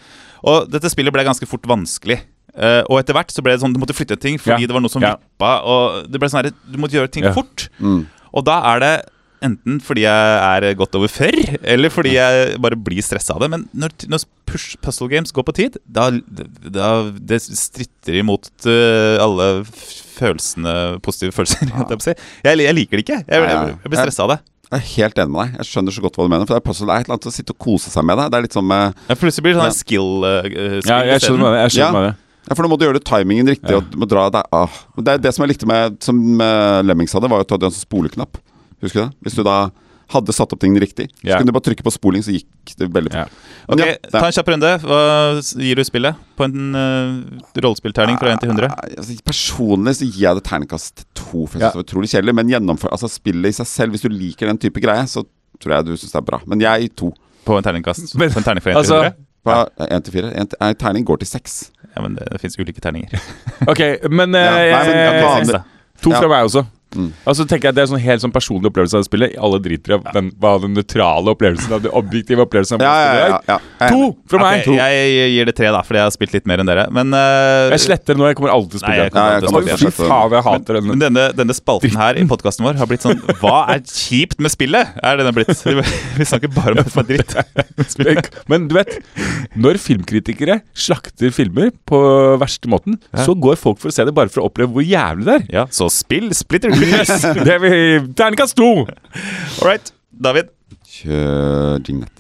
Speaker 1: Og dette spillet ble ganske fort vanskelig. Eh, og etter hvert så ble det sånn du måtte flytte ting fordi
Speaker 2: Ja.
Speaker 1: det var noe som
Speaker 2: Ja.
Speaker 1: vippa. Og det ble sånn her, Du måtte gjøre ting
Speaker 2: Ja.
Speaker 1: fort.
Speaker 3: Mm.
Speaker 1: Og da er det enten fordi jeg er godt over før, eller fordi jeg bare blir stressa av det. Men når, når push puzzle games går på tid, da, da det stritter imot eh, alle f- følelsene, positive følelser. holdt Jeg, på å si. jeg, jeg liker det ikke. Jeg,
Speaker 3: Nei,
Speaker 1: jeg,
Speaker 3: nei.
Speaker 1: jeg blir stressa av det.
Speaker 3: Jeg er helt enig med deg. Jeg skjønner så godt hva du mener. For det er, puzzle, det er et eller annet å sitte og kose seg med det. Det er litt som eh,
Speaker 1: Jeg plutselig blir det
Speaker 3: Ja.
Speaker 1: sånn skill eh, eh, spill
Speaker 2: Ja, jeg
Speaker 1: isteden.
Speaker 2: skjønner med det. Jeg skjønner
Speaker 3: Ja.
Speaker 2: med det.
Speaker 3: Ja, for nå må du gjøre det timingen riktig. Og du må dra deg av. Men Det er det som jeg likte med Som eh, Lemmings hadde, var jo at du hadde en sånn spoleknapp. Husker du det? Hvis du da hadde satt opp tingene riktig,
Speaker 2: Ja.
Speaker 3: så kunne du bare trykke på spoling, så gikk det veldig
Speaker 2: Ja.
Speaker 3: fort. Men
Speaker 1: Ok,
Speaker 3: ja, det-
Speaker 1: Ta en kjapp runde. Hva s- gir du spillet på en eh, rollespillterning fra 1 til 100?
Speaker 3: Nei, altså, personlig så gir jeg det terningkast to. For jeg synes
Speaker 2: Ja.
Speaker 3: det var utrolig kjedelig Men gjennomfør, altså spillet i seg selv, hvis du liker den type greie, så tror jeg du syns det er bra. Men jeg gir to.
Speaker 1: På en terningkast?
Speaker 2: Men-
Speaker 1: på en terning fra 1
Speaker 2: Altså,
Speaker 1: til 100?
Speaker 3: Fra én til fire. En til- nei, terning går til seks.
Speaker 1: Ja, men det, det fins ulike terninger.
Speaker 2: Ok, men, eh,
Speaker 3: Ja, nei, men
Speaker 2: jeg-
Speaker 3: kan
Speaker 1: Seks,
Speaker 3: det-
Speaker 1: da.
Speaker 2: to fra
Speaker 3: ja.
Speaker 2: meg også.
Speaker 3: Mm.
Speaker 2: Altså tenker jeg Det er en sånn helt sånn personlig opplevelse av det spillet. Alle driter i den, hva den nøytrale opplevelsen av den objektive opplevelsen av
Speaker 3: Ja, ja, ja,
Speaker 2: spillet
Speaker 3: ja,
Speaker 2: er.
Speaker 3: ja. Jeg er enig.
Speaker 2: To fra meg!
Speaker 1: Ok, jeg gir det tre, da, fordi jeg har spilt litt mer enn dere. Men, eh,
Speaker 2: Jeg sletter det nå. Jeg kommer aldri til å
Speaker 1: Nei,
Speaker 2: spille
Speaker 1: jeg
Speaker 2: den.
Speaker 1: kommer
Speaker 3: Ja, jeg
Speaker 1: til å
Speaker 3: kommer
Speaker 1: snakke
Speaker 2: Fy
Speaker 3: til å
Speaker 1: igjen.
Speaker 3: slette den.
Speaker 2: faen, jeg hater den.
Speaker 1: men denne, denne spalten her i podkasten vår har blitt sånn Hva er kjipt med spillet? Er det den blitt? Vi snakker bare om det som er dritt.
Speaker 2: Men, men du vet, når filmkritikere slakter filmer på verste måten, så går folk for å se det bare for å oppleve hvor jævlig det er.
Speaker 1: Ja, så spill splitter yes.
Speaker 2: Det er vi- Terningkast to!
Speaker 1: All right, David.
Speaker 3: Kjør jinglet.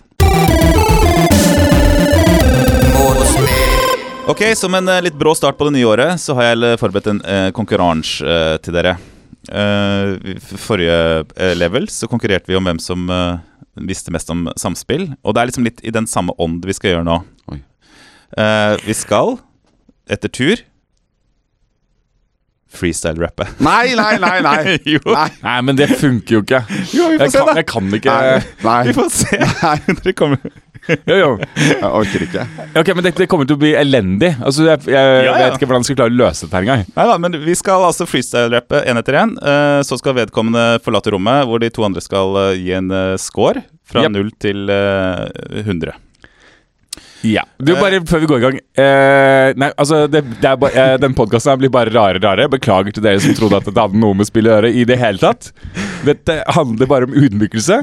Speaker 1: Ok, Som en eh, litt brå start på det nye året, så har jeg eh, forberedt en eh, konkurranse eh, til dere. Eh, vi- f- forrige eh, level så konkurrerte vi om hvem som eh, visste mest om samspill. Og det er liksom litt i den samme ånd vi skal gjøre nå.
Speaker 3: Oi.
Speaker 1: Eh, vi skal, etter tur, freestyle-rappe.
Speaker 3: Nei, nei, nei! nei
Speaker 1: Jo.
Speaker 3: Nei,
Speaker 2: Nei, men det funker jo ikke.
Speaker 3: Jo, vi får
Speaker 2: jeg,
Speaker 3: se,
Speaker 2: kan,
Speaker 3: da.
Speaker 2: jeg kan ikke
Speaker 3: nei, nei.
Speaker 1: Vi får se. Dere kommer
Speaker 2: jo, jo.
Speaker 3: Jeg orker ikke.
Speaker 2: Ok, Men det, det kommer til å bli elendig. Altså, Jeg, jeg
Speaker 1: ja.
Speaker 2: vet ikke hvordan jeg skal klare å løse dette her engang.
Speaker 1: Nei da, men vi skal altså freestyle-rappe én etter én. eh, så skal vedkommende forlate rommet, hvor de to andre skal eh, gi en eh, score fra
Speaker 2: Jep.
Speaker 1: 0 til eh, 100.
Speaker 2: Ja. Du, bare før vi går i gang eh, Nei, altså, det, det er bare, eh, Den podkasten blir bare rarere og rarere. Beklager til dere som trodde at det hadde noe med spill å gjøre i det hele tatt. Dette handler bare om utmykelse.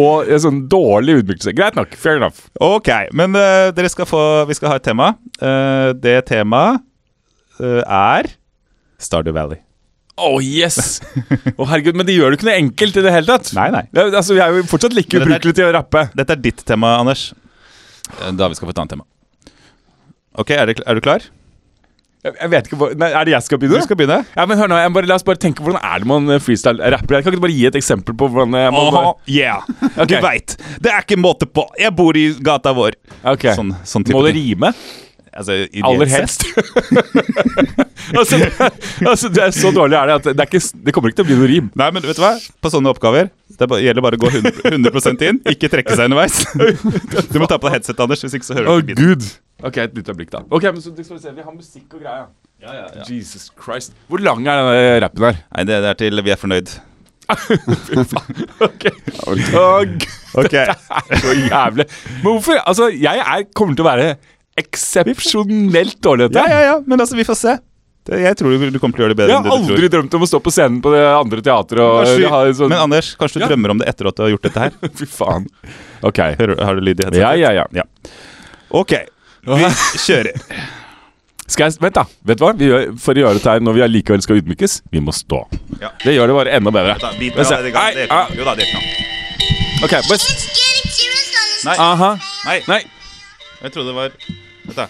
Speaker 2: Og en sånn dårlig utmykelse. Greit nok. Fair enough.
Speaker 1: Ok, men eh, dere skal få, vi skal ha et tema. Eh, det temaet eh, er Stardew Valley.
Speaker 2: Oh, yes! Å, herregud, Men det gjør det ikke noe enkelt i det hele tatt.
Speaker 1: Nei, nei.
Speaker 2: Ja, altså, Vi er jo fortsatt like
Speaker 1: Men det er-
Speaker 2: ubrukelige til å rappe.
Speaker 1: Dette er ditt tema, Anders. Eh, David skal få et annet tema. Ok, er, det, er du klar?
Speaker 2: Jeg, jeg vet ikke hvor, nei, Er det jeg som skal
Speaker 1: Du
Speaker 2: begynne?
Speaker 1: skal begynne.
Speaker 2: Ja, men hør nå, jeg må bare, La oss bare tenke hvordan er det man eh, freestyle-rapper. Jeg Kan ikke du bare gi et eksempel på hvordan eh, jeg må
Speaker 1: Aha, yeah. Du
Speaker 2: Ok.
Speaker 1: veit. Det er ikke måte på. Jeg bor i gata vår.
Speaker 2: Ok.
Speaker 1: Sånn, sånn type
Speaker 2: Må det
Speaker 1: ting.
Speaker 2: rime?
Speaker 1: Altså, ideelt
Speaker 2: Aller
Speaker 1: sett.
Speaker 2: helst. altså, altså, det er så dårlig er det at det, er ikke, det kommer ikke til å bli noe rim.
Speaker 1: Nei, men vet du hva? På sånne oppgaver Det bare- gjelder bare å gå 100, 100 inn, ikke trekke seg underveis. Du må ta på deg headset, Anders, hvis ikke så hører
Speaker 2: Å,
Speaker 1: du ikke biten.
Speaker 2: gud. Ok, et lite øyeblikk, da. Ok, men så skal Vi se, vi har musikk og greier. Jesus Christ. Hvor lang er den rappen der?
Speaker 1: Nei, det, det er til vi er fornøyd.
Speaker 2: Ok. Og-
Speaker 1: Ok,
Speaker 2: Så jævlig. Men hvorfor? Altså, jeg er, kommer til å være eksepsjonelt dårlig til
Speaker 1: Ja,
Speaker 2: dette.
Speaker 1: ja, ja, men altså, vi får se. Det, jeg tror du, du kommer til å gjøre det bedre
Speaker 2: Jeg
Speaker 1: enn
Speaker 2: har
Speaker 1: det du tror.
Speaker 2: aldri drømt om å stå på scenen på det andre teatret og
Speaker 1: Kanskje-
Speaker 2: ha en
Speaker 1: Men
Speaker 2: sånn
Speaker 1: Anders, kanskje du
Speaker 2: Ja.
Speaker 1: drømmer om det etter at du har gjort dette her?
Speaker 2: Fy faen. Ok.
Speaker 1: Hører, har du lyd i headsetet?
Speaker 2: Ja, ja, ja.
Speaker 1: Ok, vi kjører.
Speaker 2: Skal jeg, vent, da. Vet du hva? Vi gjør, for å gjøre dette her når vi allikevel skal ydmykes, vi må stå.
Speaker 1: Ja.
Speaker 2: Det gjør det bare enda bedre.
Speaker 1: Da, bit,
Speaker 2: Men se-
Speaker 1: ja, det, kan-
Speaker 2: Nei,
Speaker 1: det,
Speaker 2: ah,
Speaker 1: jo da, det kan.
Speaker 2: ok, bare s-
Speaker 4: Let's get it serious on this.
Speaker 1: Nei,
Speaker 2: Aha.
Speaker 1: nei,
Speaker 2: Nei.
Speaker 1: jeg trodde det var Vent, da.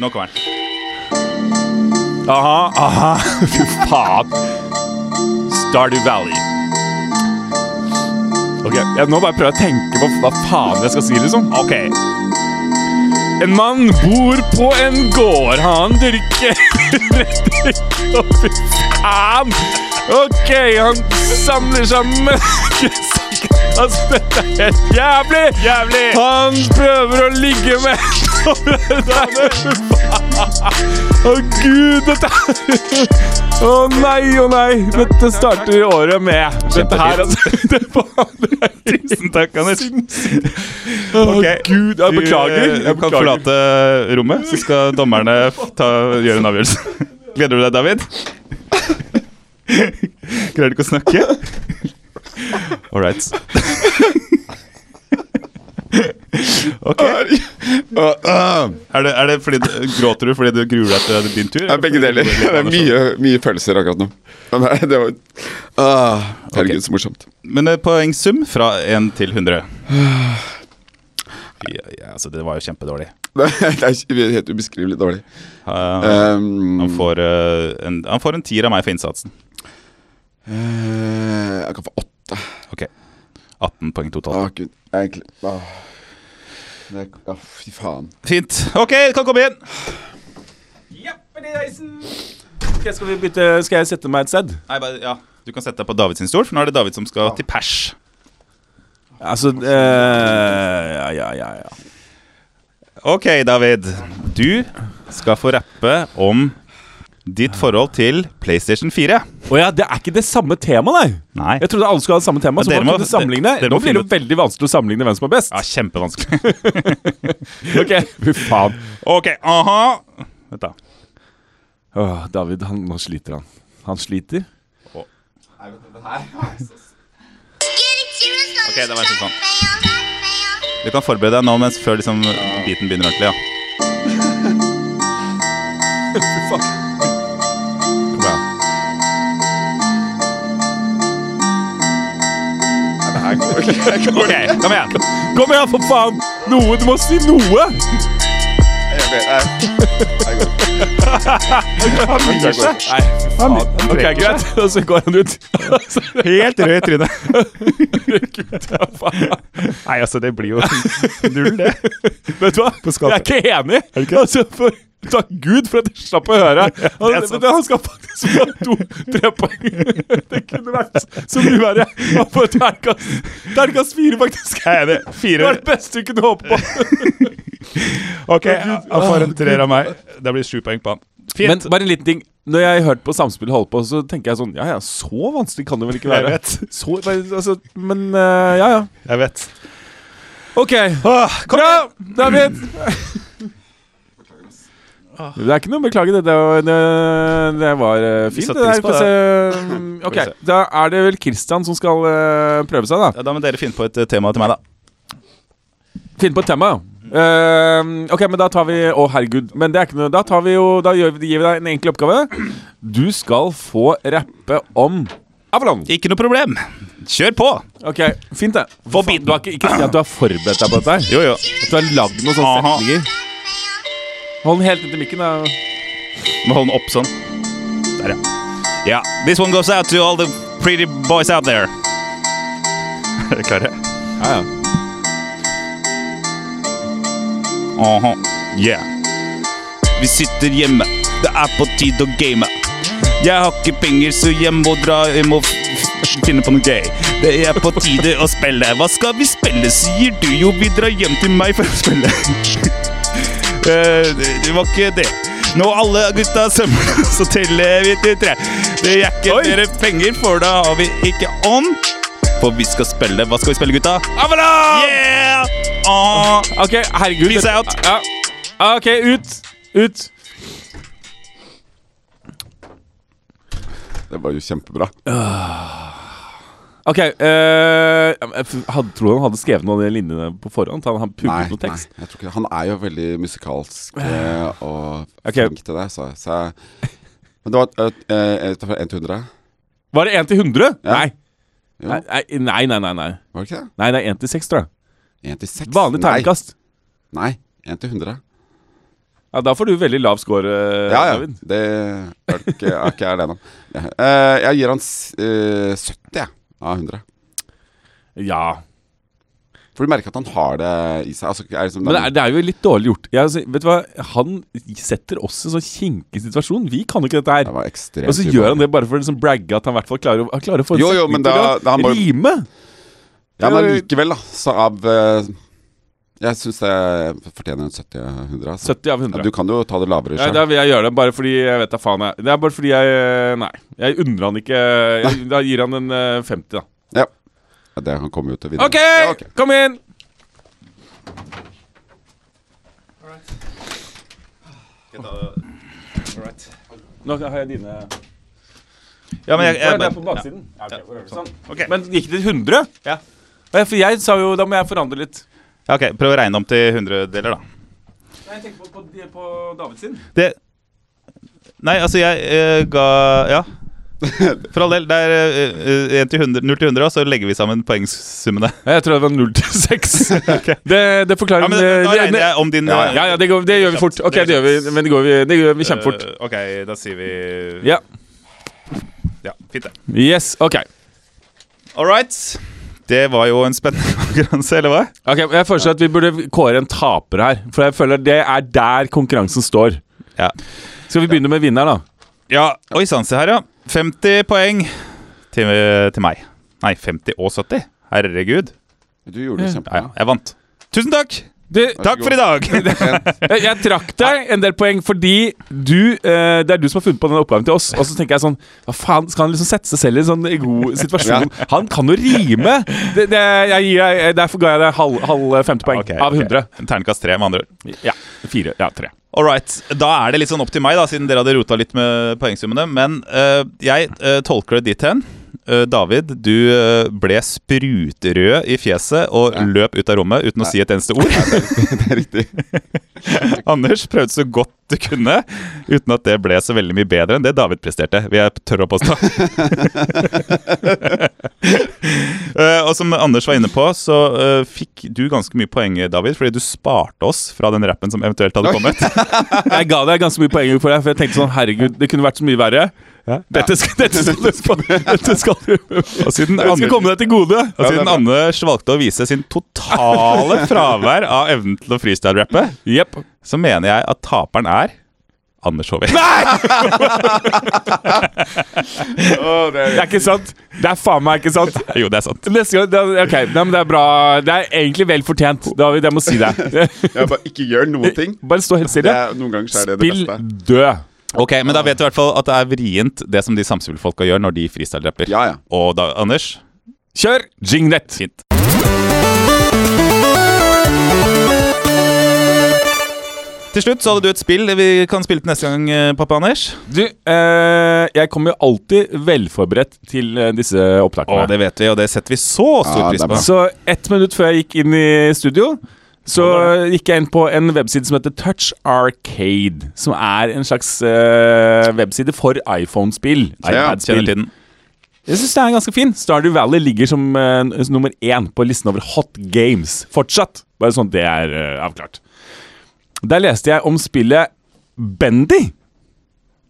Speaker 1: Nå kommer den.
Speaker 2: Aha, aha. Fy faen. Stardew Valley. Ok, jeg Nå bare prøver jeg å tenke på hva faen jeg skal si, liksom. Ok. En mann bor på en gård. Han dyrker Å, fy faen. Ok, han samler sammen Altså, dette er helt jævlig! Jævlig! Han prøver å ligge med Å gud, dette Å nei, å nei. Dette starter året med. Dette her, altså. Det var
Speaker 1: Tusen takk, Anders.
Speaker 2: Å
Speaker 1: Ok.
Speaker 2: gud. Jeg beklager.
Speaker 1: Du, eh,
Speaker 2: Jeg
Speaker 1: kan
Speaker 2: beklager.
Speaker 1: forlate rommet, så skal dommerne f- ta, gjøre en avgjørelse. Gleder du deg, David? Greier du ikke å snakke? All right. Ok. Er det, er det fordi du, gråter du fordi du gruer deg til din tur?
Speaker 3: Det er begge deler. Det er mye, mye følelser akkurat nå. Men nei, det var ah, Herregud, så morsomt.
Speaker 1: Men eh, poengsum fra 1 til 100. Ja, ja, altså, det var jo kjempedårlig.
Speaker 3: Det er ikke- helt ubeskrivelig dårlig.
Speaker 1: Eh, han,
Speaker 3: Um,
Speaker 1: får, eh, en, han får en tier av meg for innsatsen.
Speaker 3: eh, jeg kan få åtte.
Speaker 1: Ok 18 poeng totalt.
Speaker 3: Å, gud. Egentlig ah. det, ah, Fy faen.
Speaker 1: Fint. Ok, du kan komme inn.
Speaker 2: Ok, skal, vi bytte, skal jeg sette meg et sted?
Speaker 1: Nei, bare, ja. Du kan sette deg på Davids stol, for nå er det David som skal til pers.
Speaker 2: Altså eh,
Speaker 1: eh,
Speaker 2: Ja, ja, ja. ja.
Speaker 1: Ok, David. Du skal få rappe om ditt forhold til PlayStation 4.
Speaker 2: Å ja, det er ikke det samme temaet, nei.
Speaker 1: Nei.
Speaker 2: Jeg trodde alle skulle ha det samme tema.
Speaker 1: Ja,
Speaker 2: Så
Speaker 1: dere
Speaker 2: man
Speaker 1: må-
Speaker 2: kunne sammenligne
Speaker 1: dere må
Speaker 2: Nå blir det
Speaker 1: finne
Speaker 2: jo veldig vanskelig å sammenligne hvem som er best.
Speaker 1: Ja, kjempevanskelig.
Speaker 2: Ok, Fy faen.
Speaker 1: ok, aha. Vent da.
Speaker 2: Åh, David, han, nå sliter han. Han sliter.
Speaker 4: Let's get it serious on
Speaker 1: Okay,
Speaker 4: this.
Speaker 1: that was the song.
Speaker 4: Fail, fail, fail.
Speaker 1: Du kan forberede deg nå mens før liksom, biten begynner ordentlig. ja.
Speaker 2: Fy faen.
Speaker 1: Kom igjen. Ok, kom igjen.
Speaker 2: Kom igjen, for faen! Noe! Du må si noe! Nei, fy faen. Ok, greit. Og så går han ut.
Speaker 1: Helt rød i trynet.
Speaker 2: Faen.
Speaker 1: Nei, altså, det blir jo null, det.
Speaker 2: Vet du hva? Jeg er
Speaker 1: skapet.
Speaker 2: ikke enig. Altså, for, takk Gud for at jeg slapp å høre. Han,
Speaker 1: er sant.
Speaker 2: men han skal faktisk få to-tre poeng. Det kunne vært så mye verre. Han får terningkast terningkast fire, faktisk.
Speaker 1: Jeg er enig.
Speaker 2: Det
Speaker 1: Fire
Speaker 2: var det beste du kunne håpe på.
Speaker 1: Ok, han får en treer av meg. Det blir sju poeng på han.
Speaker 2: Men
Speaker 1: Fint.
Speaker 2: bare en liten ting. Når jeg hørte på Samspill holde på, så tenker jeg sånn Ja ja, så vanskelig kan det vel ikke være?
Speaker 1: Jeg vet.
Speaker 2: Så, altså, men eh, ja ja.
Speaker 1: Jeg vet.
Speaker 2: OK. Kom Bra, David.
Speaker 1: Ah.
Speaker 2: Det er ikke noe å beklage. Det, det, var- det, det var eh,
Speaker 1: Vi
Speaker 2: fint.
Speaker 1: satte
Speaker 2: Det der,
Speaker 1: pris på
Speaker 2: Få se.
Speaker 1: Skal vi
Speaker 2: ok, Da er det vel Christian som skal eh, prøve seg, da.
Speaker 1: Ja, da må dere finne på et eh, tema til meg, da.
Speaker 2: Finne på et tema. ja. Eh, ok, men da tar vi Å, herregud. Men det er ikke noe Da, tar vi jo, da gjør vi, gir vi deg en enkel oppgave. Du skal få rappe om Avalon.
Speaker 1: Ikke noe problem. Kjør på.
Speaker 2: Ok, Fint, det. For faen, Du har ikke, ikke si at du har forberedt deg på dette. her
Speaker 1: Jo, jo.
Speaker 2: At du har lagd noen sånne
Speaker 1: Aha.
Speaker 2: setninger. Hold den helt inntil mikken. da
Speaker 1: Må holde den opp sånn. Der, ja. Ja. This one goes out to all the pretty boys out there. Er dere klare?
Speaker 2: Ja, ja.
Speaker 1: Aha. Yeah. Vi sitter hjemme. Det er på tide å game. Jeg har ikke penger, så jeg må dra Jeg må f- f- finne på noe gøy. Det er på tide å spille. Hva skal vi spille, sier du? Jo, vi drar hjem til meg for å spille. Eh, det det var ikke det. Nå alle gutta sømmer så teller vi til tre. Det er ikke mer penger, for da har vi ikke ånd. For vi skal spille Hva skal vi spille, gutta?
Speaker 2: Avalanche!
Speaker 1: Yeah! Ah.
Speaker 2: Ok, herregud.
Speaker 1: Peace out.
Speaker 2: Ja. Ok, ut. Ut.
Speaker 3: Det var jo kjempebra.
Speaker 2: Ok, eh, jeg f- hadde, tror han hadde skrevet noen av de linjene på forhånd. Han har
Speaker 3: Nei,
Speaker 2: pugget
Speaker 3: nei,
Speaker 2: noe tekst.
Speaker 3: jeg tror ikke det. Han er jo veldig musikalsk eh, og
Speaker 2: Ok.
Speaker 3: flink til det, så, så jeg Men det var et- eh, et fra 1 til 100?
Speaker 2: Var det 1 til 100?
Speaker 3: Ja.
Speaker 2: Nei.
Speaker 3: Jo.
Speaker 2: Nei, nei, nei, nei, nei.
Speaker 3: Var det ikke det?
Speaker 2: Nei, det er 1 til 6, tror jeg.
Speaker 3: 1 til 6?
Speaker 2: Vanlig terningkast.
Speaker 3: Nei. nei. 1 til 100.
Speaker 2: Ja, da får du veldig lav score, eh,
Speaker 3: Ja, ja.
Speaker 2: David.
Speaker 3: Det er det ikke, er ikke jeg alene om. Ja. Eh, jeg gir han s- eh, 70 jeg, av 100.
Speaker 2: Ja.
Speaker 3: For du merker at han har det i seg. Altså, er liksom
Speaker 2: Men det er, det er jo litt dårlig gjort. Jeg, altså, vet du hva? Han setter oss i en sånn kinkig situasjon. Vi kan jo ikke dette her.
Speaker 3: det var ekstremt
Speaker 2: Og så gjør han det bare for å liksom bragge at han i hvert fall klarer, å- han klarer å få en
Speaker 3: Jo, jo,
Speaker 2: setning
Speaker 3: men
Speaker 2: til
Speaker 3: da-
Speaker 2: å
Speaker 3: da han bare-
Speaker 2: rime.
Speaker 3: Ja, men likevel, da. Så av eh, Jeg syns det fortjener en 70 av 100. Altså.
Speaker 2: 70 av 100.
Speaker 3: Ja, du kan jo ta det lavere
Speaker 2: Ja,
Speaker 3: sjøl.
Speaker 2: da vil jeg gjøre det, bare fordi jeg vet da faen jeg Det er bare fordi jeg eh, Nei. Jeg undrer han ikke jeg, Da gir han en eh, 50, da.
Speaker 3: Ja. Ja, det han kommer jo til å vinne.
Speaker 2: OK,
Speaker 3: Mm. Ja, ok.
Speaker 2: kom inn! Nå har jeg dine
Speaker 1: Ja, men jeg,
Speaker 2: Å,
Speaker 1: jeg,
Speaker 2: det er på baksiden. Ja, ok, hvor er det? sånn.
Speaker 1: Ok.
Speaker 2: Men gikk det til 100?
Speaker 1: Ja.
Speaker 2: Ja, For jeg sa jo Da må jeg forandre litt.
Speaker 1: Ja, ok, Prøv å regne om til hundredeler, da.
Speaker 2: Nei, jeg tenker på, på, de- på David sin.
Speaker 1: Det Nei, altså, jeg eh, ga Ja. For all del. Det er eh, eh, 1 til 100, 0 til 100, og så legger vi sammen poengsummene.
Speaker 2: Jeg tror det var 0 til 6. det, eh, det forklarer
Speaker 1: Ja, men eh, Da regner jeg om din
Speaker 3: Ja,
Speaker 1: eh,
Speaker 2: Ja, ja, det, går, det gjør vi fort. Ok, det gjør vi, men det, går vi, det gjør vi kjempefort.
Speaker 1: Eh, ok, da sier vi
Speaker 2: Ja.
Speaker 1: Ja, Fint, det.
Speaker 2: Yes, ok.
Speaker 1: All right. Det var jo en spennende konkurranse, eller hva?
Speaker 2: Ok, men Jeg foreslår at vi burde kåre en taper her. For jeg føler det er der konkurransen står.
Speaker 1: Ja.
Speaker 2: Skal vi begynne med vinner, da?
Speaker 1: ja Oi sann, se her, ja. 50 poeng til, eh, til meg. Nei, 50 og 70. Herregud.
Speaker 3: Du gjorde
Speaker 2: Mm.
Speaker 3: det
Speaker 1: Ja,
Speaker 3: kjempebra.
Speaker 1: ja, jeg vant. Tusen takk!
Speaker 2: Du,
Speaker 1: Takk for i dag!
Speaker 2: jeg, jeg trakk deg en del poeng fordi du eh, Det er du som har funnet på den oppgaven til oss. Og så tenker jeg sånn Hva faen, skal han liksom sette seg selv i en sånn god situasjon? Han kan jo rime! Det, det, jeg gir, deg- derfor ga jeg deg halv, halv 50 poeng
Speaker 1: Ok,
Speaker 2: av
Speaker 1: ok.
Speaker 2: 100.
Speaker 1: Terningkast tre, med andre ord.
Speaker 2: Ja, fire, ja, tre.
Speaker 1: All right. Da er det litt sånn opp til meg, da, siden dere hadde rota litt med poengsummene. Men eh, jeg eh, tolker det dit hen. Eh, David, du eh, ble sprutrød i fjeset og løp ut av rommet uten å si et eneste ord.
Speaker 3: Det er riktig.
Speaker 1: Anders prøvde så godt du kunne, uten at det ble så veldig mye bedre enn det David presterte. vil jeg tørre å påstå. Eh, og som Anders var inne på, så eh, fikk du ganske mye poeng, David, fordi du sparte oss fra den rappen som eventuelt hadde kommet.
Speaker 2: Jeg ga deg ganske mye poeng for det, for jeg tenkte sånn Herregud, det kunne vært så mye verre. Dette skal, dette skal du få- Dette skal du
Speaker 1: Og siden
Speaker 2: Det skal
Speaker 1: Anders-
Speaker 2: komme deg til gode.
Speaker 1: Og siden Anders valgte å vise sin totale fravær av evnen til å freestyle-rappe,
Speaker 2: Jepp.
Speaker 1: så mener jeg at taperen er Anders Håvik.
Speaker 2: Det er ikke sant. Det er faen meg ikke sant.
Speaker 1: Jo, det er sant.
Speaker 2: Neste gang det er, OK, nei, men det er bra. Det er egentlig vel fortjent, David. Jeg må si det.
Speaker 3: Ja, bare ikke gjør noen ting.
Speaker 2: Bare stå helt
Speaker 3: Det
Speaker 2: stille.
Speaker 3: er, noen ganger så er det det
Speaker 2: Spill
Speaker 3: beste.
Speaker 2: død.
Speaker 1: Ok, Men da vet du i hvert fall at det er vrient, det som de samspillfolka gjør når de freestyle-rapper.
Speaker 3: Ja, ja.
Speaker 1: Og da, Anders,
Speaker 2: Kjør jingnet.
Speaker 1: fint. Til slutt så hadde du et spill vi kan spille til neste gang, eh, pappa Anders.
Speaker 2: Du, eh, jeg kommer jo alltid velforberedt til eh, disse opptakene.
Speaker 1: Og det vet vi, og det setter vi så stor
Speaker 3: Ja, det
Speaker 1: pris
Speaker 3: er
Speaker 1: på.
Speaker 3: bra.
Speaker 2: Så ett minutt før jeg gikk inn i studio, så gikk jeg inn på en webside som heter Touch Arcade. Som er en slags eh, webside for iPhone-spill.
Speaker 3: Ja,
Speaker 1: Kjenner til
Speaker 2: iPad-spill.
Speaker 1: den.
Speaker 2: Jeg syns det er ganske fin. Stardew Valley ligger som eh, n- nummer én på listen over hot games fortsatt. Bare sånn at det er eh, avklart. Der leste jeg om spillet Bendy.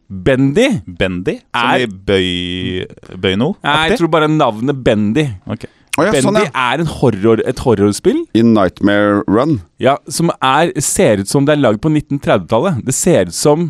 Speaker 2: Bendy?
Speaker 1: Bendy? Som
Speaker 2: Er-
Speaker 1: i bøy... Bøyno?
Speaker 2: Nei, jeg tror bare navnet Bendy.
Speaker 1: Ok.
Speaker 3: Å, ja,
Speaker 2: Bendy
Speaker 3: sånn, ja.
Speaker 2: er en horror, et horrorspill.
Speaker 3: I Nightmare Run.
Speaker 2: Ja, som er, ser ut som det er lagd på 1930-tallet. Det ser ut som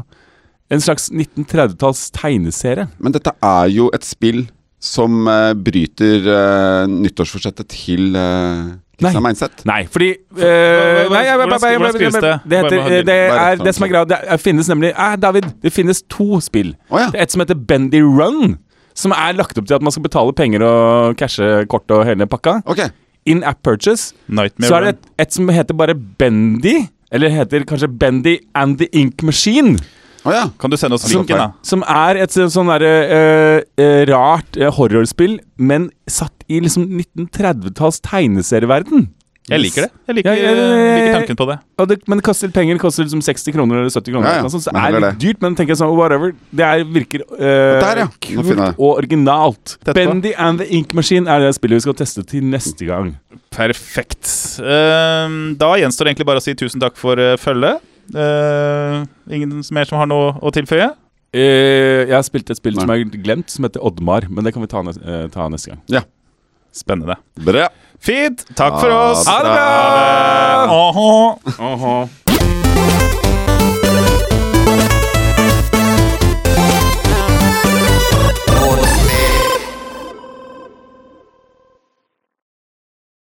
Speaker 2: en slags 1930-talls tegneserie.
Speaker 3: Men dette er jo et spill som eh, bryter eh, nyttårsforsettet til eh,
Speaker 2: Nei.
Speaker 3: Kristian Meinseth.
Speaker 2: Nei, fordi eh,
Speaker 1: hvordan-
Speaker 2: nei, jeg- jeg-
Speaker 1: hvordan-
Speaker 2: jeg- jeg-
Speaker 1: hvordan skrives det?
Speaker 2: jeg- Det,
Speaker 1: Bare-
Speaker 2: heter,
Speaker 1: bare- sånn.
Speaker 2: eh, det,
Speaker 3: bare-
Speaker 2: er, det som er greia, det er, finnes nemlig eh, David, det finnes to spill.
Speaker 3: Å, ja.
Speaker 2: Det er et som heter Bendy Run, som er lagt opp til at man skal betale penger og cashe kort og hele pakka.
Speaker 3: Ok.
Speaker 2: In app purchase.
Speaker 1: Nightmare
Speaker 2: Så er
Speaker 1: Mm. Run.
Speaker 2: det et, et som heter bare Bendy, eller heter kanskje Bendy and the Ink Machine.
Speaker 3: Å ja.
Speaker 1: Kan du sende oss
Speaker 2: Altså,
Speaker 3: Som-
Speaker 1: linken, da?
Speaker 2: Som er et så- sånn derre eh, eh, rart eh, horrorspill, men satt i liksom 1930-talls tegneserieverden.
Speaker 1: Jeg liker det. Jeg liker,
Speaker 2: Ja, ja, ja, ja.
Speaker 1: liker tanken på det.
Speaker 2: Og det, men det koster litt penger. Det koster liksom 60 kroner eller 70 kroner.
Speaker 3: Ja, ja.
Speaker 2: eller noe sånt, Så det
Speaker 3: Men
Speaker 2: er
Speaker 3: heller
Speaker 2: litt dyrt, men tenker jeg sånn, whatever. Det er, virker eh,
Speaker 3: Der, ja. Nå finner jeg
Speaker 2: kult
Speaker 3: det.
Speaker 2: og originalt.
Speaker 1: Tett på.
Speaker 2: Bendy and the Ink Machine er det spillet vi skal teste til neste gang.
Speaker 1: Perfekt. Ehm, da gjenstår det egentlig bare å si tusen takk for uh, følget. Ehm, ingen som- mer som har noe å tilføye?
Speaker 2: Eh, jeg har spilt et spill
Speaker 3: Nei.
Speaker 2: som er glemt, som heter Oddmar. Men det kan vi ta, nes- eh, ta neste gang.
Speaker 3: ja.
Speaker 1: Spennende.
Speaker 3: Bra.
Speaker 1: Fint. Takk for oss.
Speaker 3: Ha det bra.
Speaker 1: Aha.